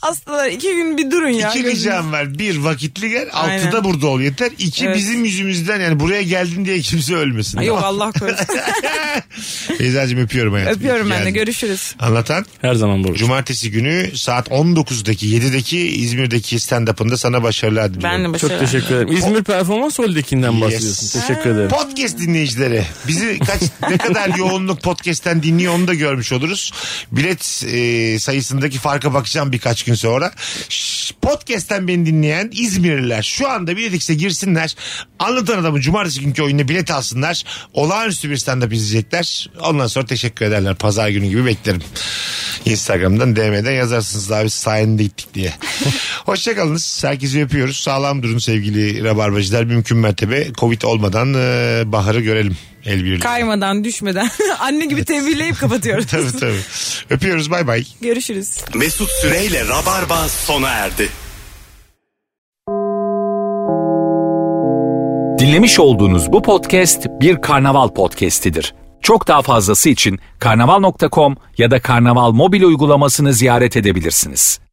[SPEAKER 7] Hastalar iki gün bir durun ya.
[SPEAKER 2] İki
[SPEAKER 7] gözünüz-
[SPEAKER 2] ricam var. Bir vakitli gel.
[SPEAKER 7] Aynen.
[SPEAKER 2] Altıda burada ol yeter. İki
[SPEAKER 7] Evet.
[SPEAKER 2] bizim yüzümüzden yani buraya geldin diye kimse ölmesin.
[SPEAKER 7] Ay, Yok
[SPEAKER 2] Tamam.
[SPEAKER 7] Allah korusun.
[SPEAKER 2] Beyza'cığım öpüyorum hayatım.
[SPEAKER 7] Öpüyorum
[SPEAKER 2] İyi ki
[SPEAKER 7] ben de
[SPEAKER 2] geldin.
[SPEAKER 7] görüşürüz.
[SPEAKER 2] Anlatan
[SPEAKER 3] Her zaman burada.
[SPEAKER 2] cumartesi günü saat 19'daki 7'deki İzmir'deki stand-up'ında sana başarılar
[SPEAKER 7] Ben
[SPEAKER 2] diliyorum.
[SPEAKER 7] de
[SPEAKER 3] Çok
[SPEAKER 7] başarılar.
[SPEAKER 3] teşekkür ederim. İzmir Performans Hall'dekinden
[SPEAKER 2] Yes.
[SPEAKER 3] bahsediyorsun. Teşekkür ederim.
[SPEAKER 2] Podcast dinleyicileri bizi kaç ne kadar yoğunluk podcast'ten dinliyor onu da görmüş oluruz. Bilet e, sayısındaki farka bakacağım birkaç gün sonra. Şş, Podcast'ten beni dinleyen İzmirliler şu anda biletikse girsinler. Anlatan adamın cumartesi günkü oyununa bilet alsınlar. Olağanüstü bir stand-up izleyecekler. Ondan sonra teşekkür ederler. Pazar günü gibi beklerim. Instagram'dan DM'den yazarsınız abi sayende gittik diye. Hoşçakalınız. Herkesi öpüyoruz. Sağlam durun sevgili rabarbacılar. Mümkün mertebe Covid olmadan e, baharı görelim. El birliği.
[SPEAKER 7] Kaymadan düşmeden anne gibi tebrikleyip kapatıyoruz.
[SPEAKER 2] tabii tabii. Öpüyoruz bay bay.
[SPEAKER 7] Görüşürüz.
[SPEAKER 1] Mesut Süreyle Rabarba sona erdi.
[SPEAKER 14] Dinlemiş olduğunuz bu podcast bir karnaval podcastidir. Çok daha fazlası için karnaval.com ya da karnaval mobil uygulamasını ziyaret edebilirsiniz.